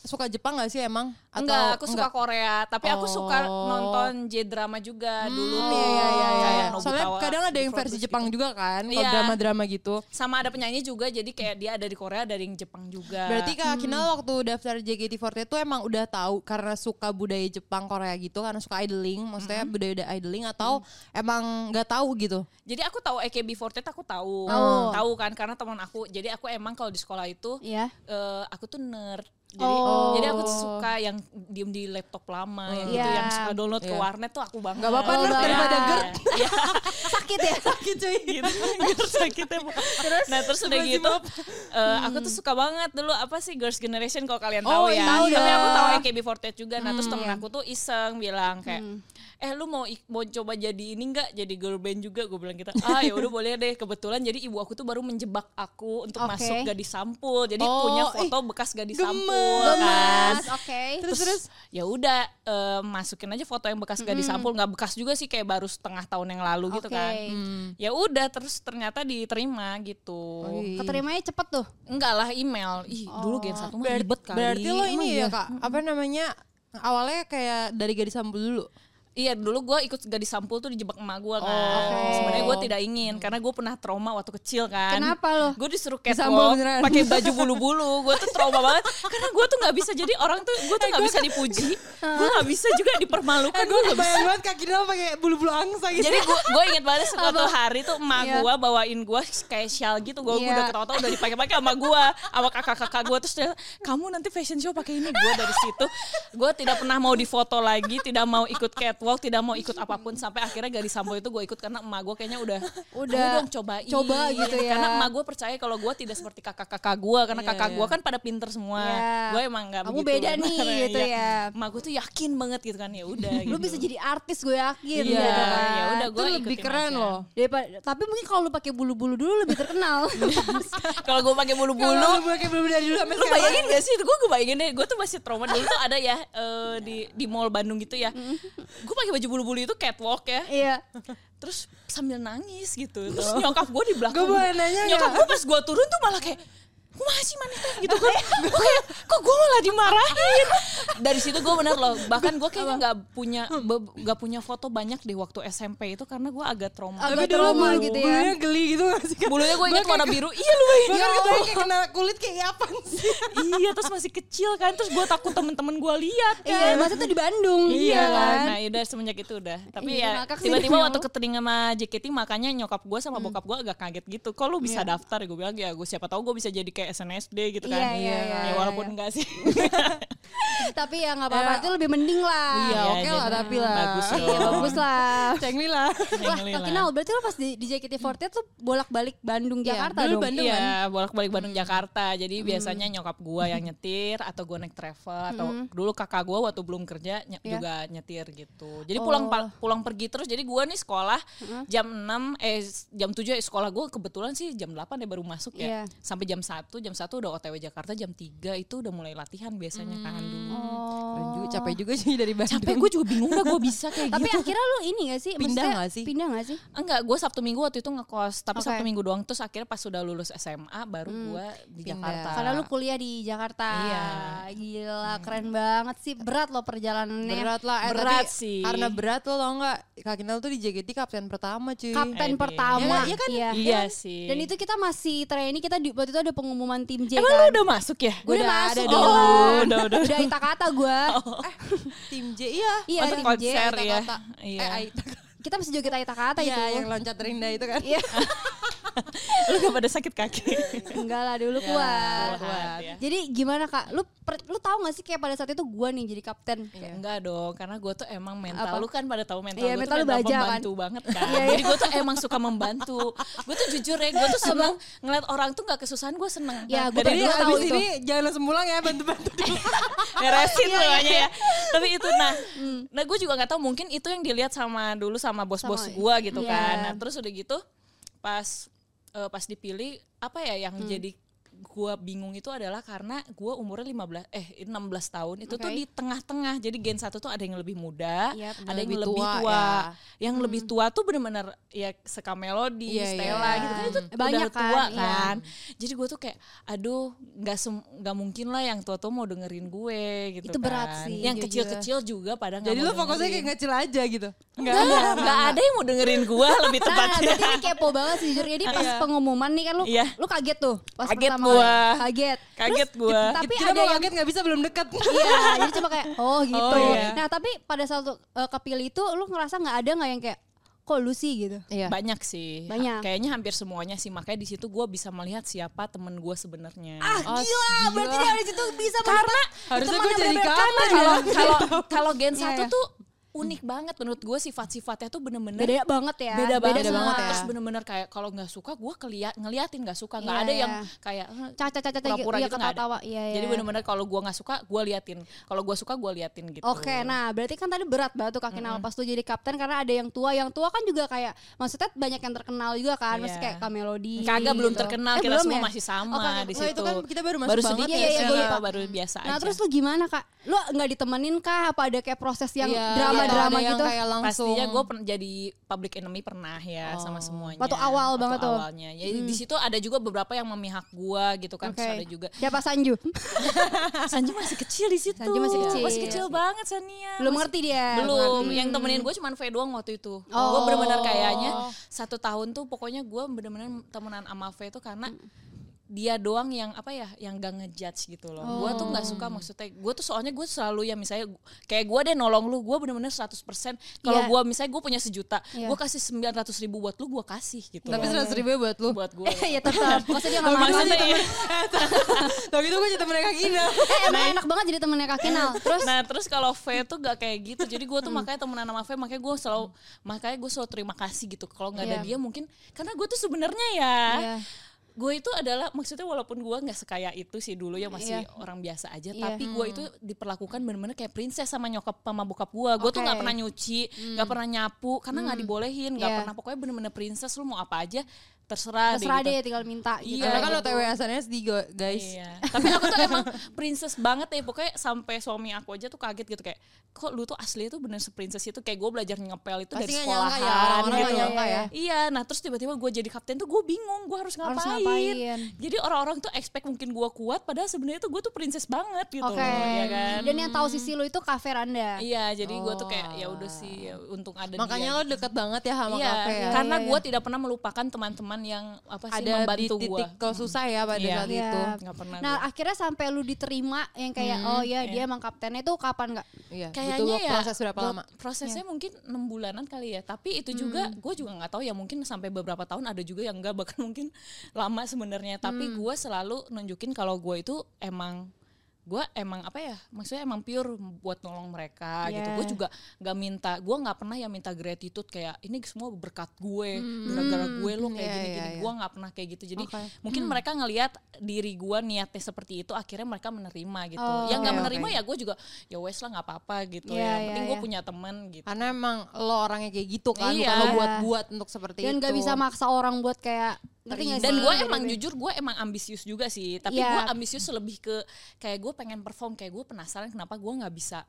Speaker 3: suka Jepang gak sih emang? Atau
Speaker 4: enggak, aku suka Korea, tapi aku suka
Speaker 3: Oh.
Speaker 4: nonton J-drama juga dulu.
Speaker 3: Hmm, iya, iya, iya, iya, iya.
Speaker 4: Kayak Nobutawa,
Speaker 3: Soalnya kadang ada yang
Speaker 4: Fruit
Speaker 3: versi
Speaker 4: Loops
Speaker 3: Jepang
Speaker 4: gitu.
Speaker 3: juga kan, kalau
Speaker 4: Iya.
Speaker 3: drama-drama gitu.
Speaker 4: Sama ada penyanyi juga, jadi kayak dia ada di Korea, ada yang Jepang juga.
Speaker 3: Berarti Kak Kinal waktu daftar JKT48 tuh emang udah tahu karena suka budaya Jepang Korea gitu, karena suka idling, maksudnya budaya idling atau emang nggak tahu gitu?
Speaker 4: Jadi aku tahu AKB48 aku
Speaker 3: Oh.
Speaker 4: tahu.
Speaker 2: Tahu.
Speaker 4: Tahu kan karena teman aku. Jadi aku emang kalau di sekolah itu
Speaker 2: Iya.
Speaker 4: eh, aku tuh nerd. Jadi
Speaker 2: Oh.
Speaker 4: jadi aku tuh suka yang diem di laptop lama yang gitu
Speaker 2: Iya.
Speaker 4: yang suka download ke
Speaker 3: Iya.
Speaker 4: warnet tuh aku banget.
Speaker 3: Gak apa-apa,
Speaker 2: Oh,
Speaker 3: nerd
Speaker 2: banget.
Speaker 3: daripada GERD.
Speaker 2: Sakit ya?
Speaker 3: (laughs) Sakit cuy.
Speaker 4: gitu Terus sakitnya Bu. nah terus udah
Speaker 3: Masih
Speaker 4: gitu eh, aku tuh suka banget dulu apa sih girls generation kalau kalian
Speaker 3: Oh, Hmm,
Speaker 4: tahu ya
Speaker 3: tahu
Speaker 4: tapi
Speaker 3: ya.
Speaker 4: aku tahu AKB48 juga nah terus
Speaker 3: iya.
Speaker 4: temen aku tuh iseng bilang kayak
Speaker 3: Hmm.
Speaker 4: eh lu mau ik- mau coba jadi ini nggak jadi girl band juga gue bilang gitu ah ya udah boleh deh kebetulan jadi ibu aku tuh baru menjebak aku untuk
Speaker 2: Oke.
Speaker 4: masuk gadis sampul jadi
Speaker 3: Oh,
Speaker 4: punya
Speaker 3: ih,
Speaker 4: foto bekas gadis
Speaker 3: gemes.
Speaker 4: sampul kan
Speaker 2: Gemes, oke.
Speaker 3: Terus terus Hmm.
Speaker 4: terus ya udah eh, masukin aja foto yang bekas gadis sampul nggak bekas juga sih kayak baru setengah tahun yang lalu gitu
Speaker 2: Oke.
Speaker 4: kan
Speaker 3: Hmm.
Speaker 4: ya udah terus ternyata diterima gitu
Speaker 2: Oh, iya. Keterimanya cepet tuh.
Speaker 4: enggak lah email ih dulu gen satu mah
Speaker 3: Berarti,
Speaker 4: ribet kali
Speaker 3: berarti lo
Speaker 4: Emang
Speaker 3: ini ya
Speaker 4: iya?
Speaker 3: kak, apa namanya awalnya kayak dari gadis sampul (laughs) dulu.
Speaker 4: Iya dulu gue ikut gadis sampul tuh dijebak emak gue kan.
Speaker 2: oke.
Speaker 4: Sebenarnya gue tidak ingin karena gue pernah trauma waktu kecil kan.
Speaker 2: Kenapa lo?
Speaker 4: Gue disuruh
Speaker 3: Disampul
Speaker 4: catwalk
Speaker 3: beneran.
Speaker 4: pakai baju bulu-bulu. Gue tuh trauma banget karena gue tuh nggak bisa jadi orang tuh gue tuh nggak bisa dipuji. Gue nggak bisa juga dipermalukan. Gue nggak bisa.
Speaker 3: banget kak Kinal pakai bulu-bulu angsa gitu.
Speaker 4: Jadi gue inget banget suatu hari tuh emak
Speaker 2: Iya.
Speaker 4: gue bawain gue kayak shawl gitu Gue
Speaker 2: Iya.
Speaker 4: udah ketawa-tawa udah dipakai-pakai sama gue Sama kakak-kakak gue Terus dia kamu nanti fashion show pakai ini Gue dari situ Gue tidak pernah mau difoto lagi Tidak mau ikut catwalk Tidak mau ikut apapun Sampai akhirnya gadis sambo itu gue ikut Karena emak gue kayaknya udah
Speaker 2: Udah,
Speaker 4: "Ayo dong cobain Iya,
Speaker 2: coba gitu ya.
Speaker 4: Karena emak gue percaya kalau gue tidak seperti kakak-kakak gue Karena
Speaker 3: Iya,
Speaker 4: kakak
Speaker 3: iya.
Speaker 4: gue kan pada pinter semua
Speaker 2: Iya.
Speaker 4: Gue emang gak
Speaker 2: Kamu
Speaker 4: begitu
Speaker 2: beda
Speaker 4: (laughs)
Speaker 2: nih,
Speaker 4: Iya.
Speaker 2: gitu ya.
Speaker 4: Emak gue tuh yakin banget gitu kan ya udah
Speaker 2: Lu
Speaker 4: gitu.
Speaker 2: bisa jadi artis gue yakin
Speaker 4: Iya,
Speaker 2: gitu kan.
Speaker 4: ya udah
Speaker 3: Itu
Speaker 4: gue
Speaker 3: lebih keren loh.
Speaker 2: Daripada- tapi mungkin kalau lu pakai bulu-bulu dulu lebih terkenal.
Speaker 3: (laughs)
Speaker 4: Kalau gue pakai bulu-bulu
Speaker 3: Bulu pakai bulu dari dulu sampai
Speaker 4: Lu bayangin gak sih? Gue gue bayangin deh, gue tuh masih trauma dulu tuh ada ya
Speaker 3: Iya.
Speaker 4: eh, di di mall Bandung gitu ya. Gue pakai baju bulu-bulu itu catwalk ya.
Speaker 2: iya.
Speaker 4: Terus sambil nangis gitu. Terus nyokap gue di belakang.
Speaker 3: Gua boleh nanya
Speaker 4: Nyokap
Speaker 3: nggak?
Speaker 4: gue pas gue turun tuh malah kayak Kumaha sih mana teh?" gitu kan Gue kayak kok gue malah dimarahin Dari situ gue bener loh Bahkan gue kayaknya gak punya be- nggak punya foto banyak deh waktu SMP itu Karena gue agak trauma
Speaker 3: Tapi
Speaker 2: Agak
Speaker 3: dulu
Speaker 2: trauma
Speaker 3: bulu-
Speaker 2: gitu ya.
Speaker 3: bulunya geli gitu gak sih kak?
Speaker 4: Bulunya gue inget
Speaker 3: Ah, Gua
Speaker 4: warna
Speaker 3: kayak-
Speaker 4: biru Iya lu bayangin
Speaker 3: Gue kan kebayang kayak kena kulit kayak apa sih?
Speaker 4: iya terus masih kecil kan terus gue takut temen-temen gue lihat
Speaker 2: Iya,
Speaker 3: Kan?
Speaker 2: masa itu di Bandung.
Speaker 3: Iya,
Speaker 4: nah udah semenjak itu udah tapi
Speaker 2: kan? Iya,
Speaker 4: ya
Speaker 2: ngakak sih Hmm.
Speaker 4: tiba-tiba
Speaker 2: dong.
Speaker 4: waktu keteringa sama JKT makanya nyokap gue sama bokap gue agak kaget gitu kok lu bisa daftar gue bilang ya gue siapa tahu gue bisa jadi kayak SNSD gitu kan
Speaker 2: Iya, iya, iya,
Speaker 4: ya
Speaker 2: iya,
Speaker 4: walaupun
Speaker 2: iya.
Speaker 4: enggak sih
Speaker 2: Tapi ya nggak apa-apa itu lebih mending Ah, lah.
Speaker 3: Nah,
Speaker 4: (laughs)
Speaker 3: Iya oke lah
Speaker 4: jadi
Speaker 3: tapi lah.
Speaker 4: bagus loh
Speaker 2: Iya, bagus lah.
Speaker 3: Cengli lah.
Speaker 2: Wah,
Speaker 4: Yang lila.
Speaker 2: Kak Kinal, berarti lo pas di, di JKT48 tuh bolak-balik Bandung Jakarta
Speaker 3: dulu
Speaker 2: dong.
Speaker 3: Bandung
Speaker 4: iya,
Speaker 3: kan?
Speaker 4: bolak-balik Bandung Jakarta. Jadi biasanya nyokap gua yang nyetir atau gua naik travel atau dulu kakak gua waktu belum kerja ny-
Speaker 2: Iya. Oh.
Speaker 4: juga nyetir gitu. Jadi pulang pal- pulang pergi terus. Jadi gua nih sekolah jam 6 eh s- jam 7 ya sekolah gua kebetulan sih jam 8 ya baru masuk
Speaker 2: Iya.
Speaker 4: ya. Sampai jam 1, jam 1 udah OTW Jakarta, jam 3 itu udah mulai latihan biasanya kan
Speaker 2: Mm.
Speaker 4: dulu.
Speaker 2: Oh.
Speaker 3: (laughs) Keren juga, Oh. capek juga sih dari Bandung.
Speaker 4: Capek gue juga bingung dah gua bisa kayak
Speaker 2: (laughs) Tapi
Speaker 4: gitu.
Speaker 2: akhirnya lo ini gak sih?
Speaker 3: Iya. Pindah
Speaker 2: Maksudnya
Speaker 3: nggak sih?
Speaker 2: Pindah gak sih?
Speaker 4: Enggak, gue Sabtu Minggu waktu itu ngekos, tapi
Speaker 2: Oke. Mm.
Speaker 4: Sabtu Minggu doang. Terus akhirnya pas sudah lulus SMA baru gua di
Speaker 3: Pindah.
Speaker 4: Jakarta.
Speaker 2: Karena lu kuliah di Jakarta.
Speaker 4: Iya.
Speaker 2: Gila, keren banget sih. Berat lo perjalanannya.
Speaker 3: Berat lah, eh,
Speaker 4: Berat
Speaker 3: tapi
Speaker 4: sih.
Speaker 3: Karena berat lo tau gak, Kak Kinal tuh di JKT kapten pertama cuy.
Speaker 2: Kapten
Speaker 4: Iya,
Speaker 2: pertama.
Speaker 3: iya kan?
Speaker 4: Iya sih.
Speaker 2: Dan itu kita masih training, kita di, waktu itu ada pengumuman tim J
Speaker 4: Emang lu
Speaker 2: kan?
Speaker 4: udah masuk ya?
Speaker 2: Gue udah,
Speaker 3: Udah
Speaker 2: masuk
Speaker 3: ada
Speaker 2: dong.
Speaker 4: dong. Udah, udah.
Speaker 2: Udah ita kata gue.
Speaker 4: Oh.
Speaker 3: Tim J iya.
Speaker 2: Iya,
Speaker 4: Masuk
Speaker 2: tim J.
Speaker 4: konser
Speaker 3: Aita
Speaker 4: ya.
Speaker 3: Kota.
Speaker 4: Iya.
Speaker 3: Eh, Aita.
Speaker 2: Kita masih joget ita kata
Speaker 3: Iya,
Speaker 2: itu.
Speaker 3: yang loncat terindah itu kan.
Speaker 2: (laughs) Iya.
Speaker 4: Lu gak pada sakit kaki.
Speaker 2: Enggak lah dulu kuat.
Speaker 4: Iya, kuat ya.
Speaker 2: Jadi gimana kak? Lu per- lu tahu gak sih kayak pada saat itu gue nih jadi kapten.
Speaker 4: Enggak dong, karena gue tuh emang mental
Speaker 2: Iya. Apa?
Speaker 4: lu kan pada tahu mental
Speaker 2: Iya,
Speaker 4: gue
Speaker 2: mental lu
Speaker 4: tuh mental
Speaker 2: baja kan?
Speaker 4: membantu banget kan.
Speaker 2: Iya,
Speaker 4: Jadi gue tuh emang suka membantu. Gue tuh jujur ya, gue tuh seneng ngeliat orang tuh nggak kesusahan gue seneng.
Speaker 2: Ya, gua berdua
Speaker 4: Dari
Speaker 3: Jadi
Speaker 4: dulu
Speaker 2: tahu
Speaker 3: abis
Speaker 2: itu.
Speaker 3: ini jangan langsung pulang ya bantu-bantu dulu.
Speaker 4: beresin semuanya ya. Tapi itu nah, nah gue juga nggak tahu mungkin itu yang dilihat sama dulu sama bos-bos
Speaker 2: Sama-
Speaker 4: gue gitu
Speaker 2: Iya.
Speaker 4: kan. Nah terus udah gitu pas eh, pas dipilih apa ya yang jadi gua bingung itu adalah karena gua umurnya 15 eh 16 tahun itu tuh
Speaker 3: Oke.
Speaker 4: di tengah-tengah. Jadi gen satu tuh ada yang lebih muda,
Speaker 3: Yap,
Speaker 4: ada yang lebih tua. Yang lebih tua tuh bener-bener ya suka melodi,
Speaker 3: Iya,
Speaker 4: Stella
Speaker 3: iya.
Speaker 4: gitu kan itu
Speaker 2: Hmm. Banyak
Speaker 4: udah tua
Speaker 2: kan, iya.
Speaker 4: kan. Jadi gua tuh kayak aduh nggak sem- nggak mungkin lah yang tua tuh mau dengerin gue gitu
Speaker 2: Itu berat
Speaker 4: kan.
Speaker 2: sih, jujur.
Speaker 4: Yang kecil-kecil juga pada nggak
Speaker 3: Jadi
Speaker 4: mau
Speaker 3: lu fokusnya
Speaker 4: dengerin.
Speaker 3: kayak ngecil aja gitu.
Speaker 4: Enggak, ada yang mau dengerin (laughs) gua lebih
Speaker 2: Nah,
Speaker 4: tepatnya.
Speaker 2: berarti ini kepo banget sih jujur. Jadi pas
Speaker 4: Iya.
Speaker 2: pengumuman nih kan lu
Speaker 4: Iya.
Speaker 2: lu kaget tuh pas
Speaker 4: Kaget
Speaker 2: pertama
Speaker 4: gua.
Speaker 2: kali. Kaget.
Speaker 4: Kaget gua.
Speaker 2: Tapi
Speaker 3: kita
Speaker 2: ada
Speaker 3: mau
Speaker 2: yang
Speaker 3: kaget nggak bisa belum deket.
Speaker 2: Iya, jadi cuma kayak oh gitu.
Speaker 4: iya.
Speaker 2: Nah, tapi pada saat lu, eh, kepilih itu lu ngerasa nggak ada nggak yang kayak kok lu sih gitu.
Speaker 3: Iya.
Speaker 4: Banyak sih.
Speaker 2: Banyak.
Speaker 4: Kayaknya hampir semuanya sih. Makanya di situ gue bisa melihat siapa temen gue sebenarnya.
Speaker 3: Oh,
Speaker 2: Ah, berarti
Speaker 3: gila.
Speaker 2: dari situ bisa karena
Speaker 3: harusnya gue jadi
Speaker 4: Karena
Speaker 3: kamu
Speaker 4: kalau (laughs)
Speaker 3: ya.
Speaker 4: kalau kalau Gen
Speaker 2: Iya,
Speaker 4: satu
Speaker 2: iya.
Speaker 4: tuh unik banget menurut gue sifat-sifatnya tuh bener-bener
Speaker 2: beda banget ya.
Speaker 4: beda banget,
Speaker 3: beda banget ya.
Speaker 4: terus bener-bener kayak kalau nggak suka gue keliat ngeliatin nggak suka nggak
Speaker 2: Iya,
Speaker 4: ada yang
Speaker 2: iya.
Speaker 4: kayak "Eh,
Speaker 2: Caca caca caca
Speaker 4: pura-pura
Speaker 2: iya,
Speaker 4: gitu nggak ada.
Speaker 2: ketawa-tawa. Iya, iya.
Speaker 4: jadi bener-bener kalau gue nggak suka gue liatin kalau gue suka gue liatin gitu
Speaker 2: Oke, nah berarti kan tadi berat banget tuh kaki Nalpas tuh jadi kapten karena ada yang tua, yang tua kan juga kayak maksudnya banyak yang terkenal juga kan,
Speaker 4: Iya.
Speaker 2: maksudnya kayak Kamelodi.
Speaker 4: kagak belum
Speaker 2: gitu.
Speaker 4: terkenal
Speaker 2: Eh,
Speaker 4: kita
Speaker 2: belum
Speaker 4: semua
Speaker 2: ya?
Speaker 4: masih sama
Speaker 2: Oke, oke.
Speaker 4: di
Speaker 3: Oh,
Speaker 4: situ
Speaker 3: itu kan kita baru masuk
Speaker 4: baru
Speaker 3: banget
Speaker 4: sedikit
Speaker 2: ya, iya,
Speaker 4: sih,
Speaker 2: gua lupa.
Speaker 4: baru biasa
Speaker 2: Nah
Speaker 4: aja
Speaker 2: terus lu gimana kak? Lu nggak ditemenin kah? Apa ada kayak proses yang
Speaker 3: Iya,
Speaker 2: drama-drama
Speaker 3: ada yang
Speaker 2: gitu?
Speaker 3: Kayak langsung.
Speaker 4: Pastinya gue jadi public enemy pernah ya
Speaker 3: Oh.
Speaker 4: sama semuanya.
Speaker 2: Waktu awal banget tuh. Hmm.
Speaker 4: Awalnya, jadi di situ ada juga beberapa yang memihak gue gitu kan. Terus ada juga. (laughs)
Speaker 2: Siapa Sanju?
Speaker 4: Sanji masih kecil di situ.
Speaker 2: Sanji masih kecil.
Speaker 4: Masih kecil banget Sania.
Speaker 2: belum
Speaker 4: Masih-
Speaker 2: ngerti Hmm. dia.
Speaker 4: belum yang temenin gue cuman V doang waktu itu
Speaker 2: Oh.
Speaker 4: gue bener-bener kayaknya satu tahun tuh pokoknya gue bener-bener temenan sama V tuh karena
Speaker 2: Hmm.
Speaker 4: dia doang yang apa ya yang gak ngejudge gitu loh gue tuh nggak
Speaker 2: Oh.
Speaker 4: suka maksudnya gue tuh soalnya gue selalu ya misalnya gu- kayak gue deh nolong lu gue bener-bener 100% kalau
Speaker 2: Iya.
Speaker 4: gue misalnya gue punya sejuta
Speaker 2: Iya.
Speaker 4: gue kasih 900 ribu buat lu gue kasih gitu
Speaker 3: Tapi
Speaker 4: loh.
Speaker 3: seratus ribu buat lu.
Speaker 4: buat
Speaker 3: (laughs)
Speaker 4: gue
Speaker 2: (laughs) Iya tetap. (laughs) Maksudnya dia nggak
Speaker 4: maksudnya
Speaker 2: malu.
Speaker 3: Tapi itu gue jadi temen Kak (laughs) Ina.
Speaker 2: Eh, emang enak banget jadi temennya Kak
Speaker 4: (laughs)
Speaker 2: Kinal. Terus Hmm.
Speaker 4: Nah terus kalau V tuh gak kayak gitu Jadi gue tuh makanya temenan sama V Makanya gue selalu Makanya gue selalu terima kasih gitu Kalau gak ada
Speaker 2: Iya.
Speaker 4: dia mungkin Karena gue tuh sebenarnya ya
Speaker 2: Iya.
Speaker 4: Gue itu adalah Maksudnya walaupun gue gak sekaya itu sih dulu ya Masih orang biasa aja
Speaker 2: Iya.
Speaker 4: Tapi gue itu diperlakukan bener-bener kayak princess Sama nyokap sama bokap gue Gue
Speaker 2: Oke.
Speaker 4: tuh
Speaker 2: Hmm.
Speaker 4: gak pernah nyuci Gak pernah nyapu Karena gak dibolehin Gak
Speaker 2: Iya.
Speaker 4: pernah Pokoknya bener-bener princess Lu mau apa aja Terserah, deh
Speaker 2: terserah
Speaker 4: gitu.
Speaker 2: deh tinggal minta gitu.
Speaker 4: Iya,
Speaker 3: Karena kan lo
Speaker 4: gitu.
Speaker 3: TW asalnya tiga guys.
Speaker 4: Iya. (laughs) Tapi aku tuh emang princess banget ya pokoknya sampai suami aku aja tuh kaget gitu kayak kok lu tuh asli tuh bener seprinses itu kayak gue belajar ngepel itu
Speaker 3: Pasti
Speaker 4: dari
Speaker 3: nggak nyangka ya
Speaker 4: sekolahan
Speaker 3: orang-orang
Speaker 4: gitu.
Speaker 3: nggak nyangka ya.
Speaker 4: Iya, nah terus tiba-tiba gue jadi kapten tuh gue bingung gue harus ngapain.
Speaker 2: Harus ngapain.
Speaker 4: Jadi orang-orang tuh expect mungkin gue kuat padahal sebenarnya tuh gue tuh princess banget gitu
Speaker 2: Oke.
Speaker 4: loh, ya kan.
Speaker 2: Dan yang tahu sisi lu itu Kak Veranda.
Speaker 4: Iya, jadi gue tuh kayak ya udah sih ya, untung ada dia
Speaker 3: Oh. Makanya lo deket banget ya sama
Speaker 4: Iya,
Speaker 3: kafe ya.
Speaker 4: karena gue tidak pernah melupakan teman-teman yang apa
Speaker 3: Ada
Speaker 4: sih
Speaker 3: di
Speaker 4: membantu gue.
Speaker 3: titik
Speaker 2: Hmm.
Speaker 3: kau susah ya pada
Speaker 4: Iya.
Speaker 3: saat itu.
Speaker 4: Nggak pernah
Speaker 2: Nah
Speaker 4: gua. Hmm, iya.
Speaker 2: akhirnya sampai lu diterima yang kayak oh ya dia emang kaptennya itu kapan nggak?
Speaker 3: Iya.
Speaker 4: Kayaknya
Speaker 3: butuh
Speaker 4: ya
Speaker 3: proses berapa
Speaker 4: buat-
Speaker 3: lama? Iya. Hmm.
Speaker 4: Prosesnya mungkin enam bulanan kali ya. Tapi itu juga gue juga nggak tahu ya mungkin sampai beberapa tahun ada juga yang nggak bahkan mungkin (laughs) lama sebenarnya.
Speaker 3: Hmm.
Speaker 4: Tapi gue selalu nunjukin kalau gue itu emang gue emang apa ya maksudnya emang pure buat nolong mereka gitu
Speaker 2: Yeah.
Speaker 4: gue
Speaker 3: Iya.
Speaker 4: juga nggak minta gue nggak pernah yang minta gratitude kayak ini semua berkat gue gara-gara gue lo
Speaker 3: Hmm. Iya,
Speaker 4: kayak gini
Speaker 3: iya, Hmm.
Speaker 4: gini
Speaker 3: iya.
Speaker 4: gue nggak pernah kayak gitu jadi
Speaker 2: Oke.
Speaker 4: mungkin mereka ngelihat diri gue niatnya seperti itu akhirnya mereka menerima gitu
Speaker 2: Oh.
Speaker 4: yang nggak
Speaker 3: Oke,
Speaker 4: menerima
Speaker 3: oke.
Speaker 4: ya gue juga ya wes lah nggak apa-apa gitu
Speaker 2: Iya,
Speaker 4: ya. Yang
Speaker 2: iya,
Speaker 4: penting gue
Speaker 2: iya.
Speaker 4: punya temen gitu.
Speaker 3: Karena emang lo orangnya kayak gitu kan,
Speaker 4: Iya.
Speaker 3: bukan lo buat-buat untuk seperti itu.
Speaker 2: Dan nggak bisa maksa orang buat kayak ngerti nggak
Speaker 4: Dan
Speaker 2: sih?
Speaker 4: gue emang
Speaker 2: Beda-beda.
Speaker 4: jujur gue emang ambisius juga sih. Tapi
Speaker 2: Iya.
Speaker 4: gue ambisius lebih ke kayak gue pengen perform kayak gue penasaran kenapa gue nggak bisa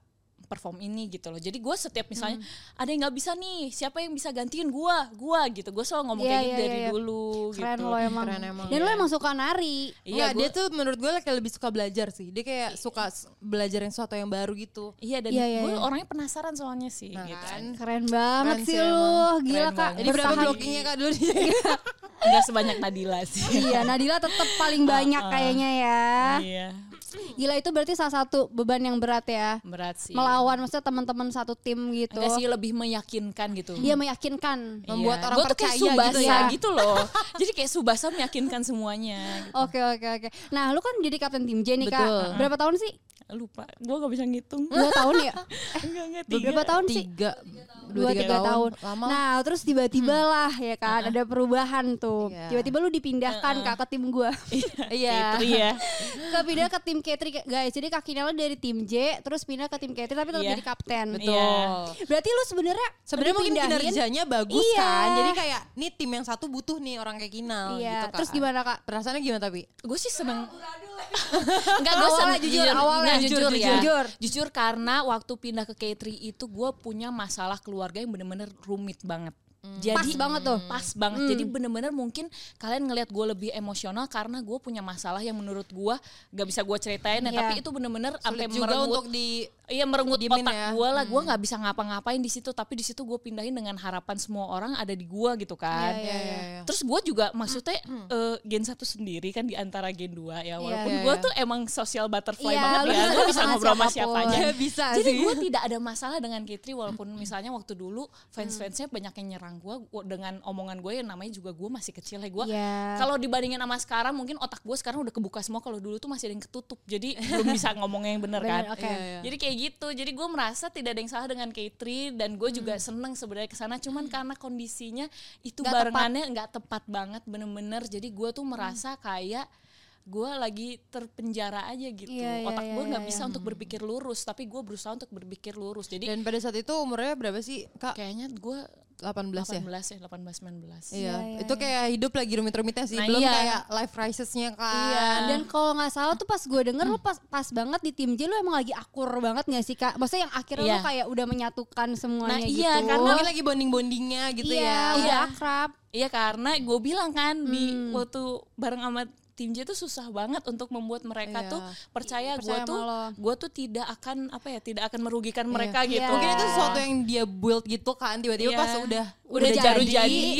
Speaker 4: perform ini gitu loh. Jadi gue setiap misalnya
Speaker 2: Hmm.
Speaker 4: ada yang nggak bisa nih, siapa yang bisa gantiin gue? Gue gitu. Gue selalu ngomong
Speaker 2: Iya,
Speaker 4: kayak gitu
Speaker 2: iya,
Speaker 4: dari
Speaker 2: iya.
Speaker 4: dulu
Speaker 2: keren
Speaker 4: gitu.
Speaker 2: lo emang.
Speaker 3: Keren emang.
Speaker 2: Dan lo emang suka nari.
Speaker 4: Iya,
Speaker 3: Nggak,
Speaker 4: gua-
Speaker 3: dia tuh menurut gue kayak lebih suka belajar sih. Dia kayak suka s- belajar yang sesuatu yang baru gitu.
Speaker 4: Iya dan
Speaker 2: Iya, iya,
Speaker 4: gue
Speaker 2: iya.
Speaker 4: orangnya penasaran soalnya sih
Speaker 3: Nah,
Speaker 4: gitu.
Speaker 3: kan.
Speaker 2: Keren banget
Speaker 3: Keren
Speaker 2: sih
Speaker 3: sih
Speaker 2: lu.
Speaker 4: emang.
Speaker 2: Gila
Speaker 4: Keren
Speaker 2: Kak.
Speaker 4: banget.
Speaker 3: Jadi berapa
Speaker 2: bertahan.
Speaker 3: blockingnya kak dulu (laughs) dia?
Speaker 2: kan.
Speaker 4: Enggak sebanyak Nadila sih.
Speaker 2: Iya, Nadila tetap paling banyak kayaknya ya.
Speaker 4: iya.
Speaker 2: Gila itu berarti salah satu beban yang berat ya.
Speaker 4: Berat sih.
Speaker 2: Melawan maksudnya teman-teman satu tim gitu.
Speaker 4: Enggak sih lebih meyakinkan gitu.
Speaker 2: Iya meyakinkan.
Speaker 3: Membuat orang
Speaker 4: Iya. Gua tuh kayak
Speaker 3: percaya
Speaker 4: subasa
Speaker 3: gitu
Speaker 4: (laughs) gitu,
Speaker 2: ya.
Speaker 4: loh. Jadi kayak subasa meyakinkan semuanya.
Speaker 2: Oke oke oke. Nah, lu kan jadi kapten tim J nih Kak.
Speaker 3: Betul.
Speaker 2: Berapa tahun sih?
Speaker 4: lupa gue gak bisa ngitung (laughs)
Speaker 2: dua tahun ya
Speaker 4: enggak enggak
Speaker 2: Eh, berapa tahun sih
Speaker 3: tiga
Speaker 2: dua tiga tahun.
Speaker 3: lama
Speaker 2: Nah terus tiba-tiba lah ya kan ada perubahan tuh.
Speaker 3: Iya.
Speaker 2: Tiba-tiba lu dipindahkan kak ke tim gua.
Speaker 3: iya
Speaker 4: itu ya
Speaker 2: Kepindah ke tim K3 guys. Jadi kak Kinala dari tim J terus pindah ke tim K3 tapi tetap
Speaker 4: Iya.
Speaker 2: jadi kapten.
Speaker 4: Betul.
Speaker 2: Berarti lu sebenarnya
Speaker 3: Iya. Sebenarnya mungkin
Speaker 2: dipindahin,
Speaker 3: kinerjanya bagus
Speaker 2: Iya.
Speaker 3: kan. Jadi kayak nih tim yang satu butuh nih orang kayak Kinal
Speaker 2: Iya.
Speaker 3: gitu kan.
Speaker 2: Terus gimana kak?
Speaker 3: Perasaannya gimana tapi?
Speaker 4: gue sih seneng Enggak, gue
Speaker 2: Awalnya
Speaker 4: seneng
Speaker 2: jujur, awalnya
Speaker 4: Nggak, jujur,
Speaker 2: jujur,
Speaker 4: ya.
Speaker 2: jujur.
Speaker 4: jujur. karena waktu pindah ke K3 itu gue punya masalah keluarga yang bener-bener rumit banget.
Speaker 2: Pas
Speaker 4: Jadi
Speaker 2: banget tuh.
Speaker 4: Pas banget. Jadi bener-bener mungkin kalian ngelihat gue lebih emosional karena gue punya masalah yang menurut gue gak bisa gue ceritain. ya
Speaker 2: Iya.
Speaker 4: Tapi itu bener-bener sampai
Speaker 3: Sulit juga
Speaker 4: merenggut
Speaker 3: untuk di
Speaker 4: Iya merenggut
Speaker 3: Diemin
Speaker 4: otak
Speaker 3: ya.
Speaker 4: gue lah, gue nggak bisa ngapa-ngapain di situ. Tapi di situ gue pindahin dengan harapan semua orang ada di gue gitu kan.
Speaker 2: Iya,
Speaker 3: iya, iya.
Speaker 4: Terus gue juga maksudnya eh, gen satu sendiri kan di antara gen 2 ya. Walaupun
Speaker 3: Iya,
Speaker 4: gue
Speaker 3: iya.
Speaker 4: tuh emang social butterfly
Speaker 2: Iya, lu (laughs)
Speaker 4: banget ya,
Speaker 2: bisa
Speaker 4: gue bisa
Speaker 2: sama
Speaker 4: ngobrol sama siapa
Speaker 2: siapapun.
Speaker 4: aja.
Speaker 2: Iya,
Speaker 3: (laughs) bisa
Speaker 4: (laughs) Jadi
Speaker 3: sih.
Speaker 4: gue tidak ada masalah dengan Kitri walaupun misalnya waktu dulu fans-fansnya banyak yang nyerang gue dengan omongan gue yang namanya juga gue masih kecil ya gue.
Speaker 2: Iya.
Speaker 4: Kalau dibandingin sama sekarang mungkin otak gue sekarang udah kebuka semua kalau dulu tuh masih ada yang ketutup. Jadi belum bisa ngomongnya yang bener kan.
Speaker 2: Bener, oke.
Speaker 3: Iya, iya.
Speaker 4: Jadi kayak gitu. Jadi gue merasa tidak ada yang salah dengan K3 dan
Speaker 2: Hmm.
Speaker 4: gue juga seneng sebenarnya ke sana. Cuman karena kondisinya itu
Speaker 2: Nggak Hmm.
Speaker 4: barengannya nggak tepat banget bener-bener. Jadi gue tuh merasa kayak gue lagi terpenjara aja gitu.
Speaker 2: Iya, iya,
Speaker 4: Otak gue
Speaker 2: iya,
Speaker 4: nggak
Speaker 2: iya.
Speaker 4: bisa untuk berpikir lurus, tapi gue berusaha untuk berpikir lurus. Jadi
Speaker 3: Dan pada saat itu umurnya berapa sih kak?
Speaker 4: kayaknya gue
Speaker 3: 18 ya?
Speaker 4: 18 ya, 18 19.
Speaker 3: Iya,
Speaker 2: Iya,
Speaker 3: itu kayak hidup lagi rumit-rumitnya sih,
Speaker 4: Nah,
Speaker 3: belum
Speaker 4: iya.
Speaker 3: kayak life crisisnya kan.
Speaker 4: Iya.
Speaker 2: Dan kalau nggak salah tuh pas gue denger
Speaker 4: Hmm.
Speaker 2: lu pas pas banget di tim J lu emang lagi akur banget nggak sih kak? Maksudnya yang akhirnya lu
Speaker 4: Iya.
Speaker 2: kayak udah menyatukan semuanya
Speaker 4: Nah,
Speaker 2: gitu.
Speaker 4: iya,
Speaker 3: Karena
Speaker 4: Oh.
Speaker 3: mungkin lagi bonding-bondingnya gitu
Speaker 2: iya,
Speaker 3: ya.
Speaker 2: udah
Speaker 4: Iya.
Speaker 2: akrab.
Speaker 4: Iya karena gue bilang kan di
Speaker 2: Hmm.
Speaker 4: waktu bareng sama tim J itu susah banget untuk membuat mereka
Speaker 3: Iya.
Speaker 4: tuh percaya, gue
Speaker 2: Percaya sama
Speaker 4: tuh
Speaker 2: lo.
Speaker 4: gue tuh tidak akan apa ya tidak akan merugikan mereka
Speaker 2: Iya.
Speaker 4: gitu.
Speaker 3: Mungkin itu sesuatu yang dia build gitu kan tiba-tiba
Speaker 4: Iya.
Speaker 3: pas udah
Speaker 4: Udah jadi,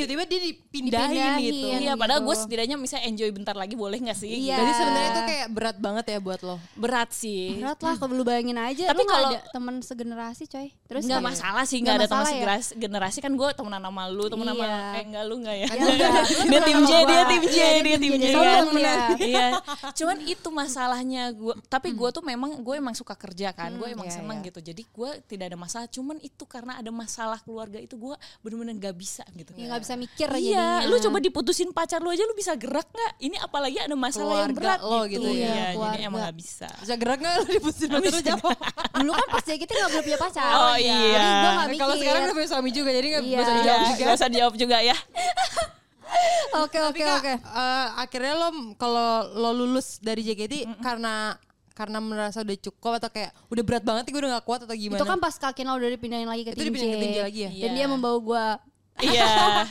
Speaker 3: tiba-tiba dia dipindahin,
Speaker 2: Dipindahin.
Speaker 3: gitu.
Speaker 4: Iya,
Speaker 2: yang
Speaker 4: padahal
Speaker 2: gitu.
Speaker 4: gue setidaknya misalnya enjoy bentar lagi boleh nggak sih?
Speaker 2: Iya.
Speaker 4: Gitu.
Speaker 3: Jadi sebenarnya itu kayak berat banget ya buat lo.
Speaker 4: Berat sih.
Speaker 2: Berat lah kalau lu bayangin aja
Speaker 4: Tapi
Speaker 2: lu nggak
Speaker 4: kalau-
Speaker 2: ada temen segenerasi coy. Terus
Speaker 4: Nggak
Speaker 2: kayak-
Speaker 4: masalah sih,
Speaker 2: Nggak
Speaker 4: nggak ada teman
Speaker 2: masalah ya?
Speaker 4: segenerasi, generasi kan gue temenan sama lu, temen sama
Speaker 2: Iya.
Speaker 4: eh enggak lu enggak ya.
Speaker 2: Ya udah, lu
Speaker 4: dia
Speaker 2: temenan
Speaker 4: tim
Speaker 2: sama
Speaker 4: J,
Speaker 2: gua.
Speaker 4: dia tim J,
Speaker 2: Iya,
Speaker 4: dia tim J.
Speaker 2: Sama
Speaker 4: kan?
Speaker 2: lu ya.
Speaker 4: Iya. Cuman itu masalahnya gua tapi gue tuh memang gue emang suka kerja kan. Gue emang
Speaker 3: iya,
Speaker 4: seneng
Speaker 3: iya.
Speaker 4: gitu. Jadi gue tidak ada masalah. Cuman itu karena ada masalah keluarga itu gue bener-bener gak bisa gitu.
Speaker 2: Ya nggak bisa mikir
Speaker 4: Iya,
Speaker 2: jadinya.
Speaker 4: lu coba diputusin pacar lu aja lu bisa gerak nggak? Ini apalagi ada masalah
Speaker 3: Keluarga
Speaker 4: yang berat
Speaker 3: lo gitu ya.
Speaker 4: gitu.
Speaker 2: Iya,
Speaker 4: Iya, jadi
Speaker 2: keluarga.
Speaker 4: emang gak bisa.
Speaker 3: Bisa gerak nggak lo diputusin
Speaker 4: Habis
Speaker 3: terus
Speaker 4: (laughs)
Speaker 3: jawab?
Speaker 2: dulu kan pas kita nggak belum punya pacar.
Speaker 4: Oh,
Speaker 2: Jadi
Speaker 4: iya.
Speaker 2: gue nggak mikir.
Speaker 3: Kalau sekarang udah punya suami juga jadi nggak
Speaker 2: ya. Iya.
Speaker 3: bisa
Speaker 4: Iya,
Speaker 3: dijawab juga.
Speaker 4: gak usah dijawab juga ya.
Speaker 2: Oke oke
Speaker 3: Kak,
Speaker 2: oke.
Speaker 3: eh, akhirnya lo kalau lo lulus dari JKT karena karena merasa udah cukup atau kayak udah berat banget gue udah gak kuat atau gimana?
Speaker 2: Itu kan pas Kak Kinal udah dipindahin lagi ke
Speaker 3: Itu
Speaker 2: tim
Speaker 3: dipindahin
Speaker 2: J.
Speaker 3: ke tim J lagi ya?
Speaker 2: Dan
Speaker 4: Iya.
Speaker 2: dia membawa gue
Speaker 4: (laughs) Iya.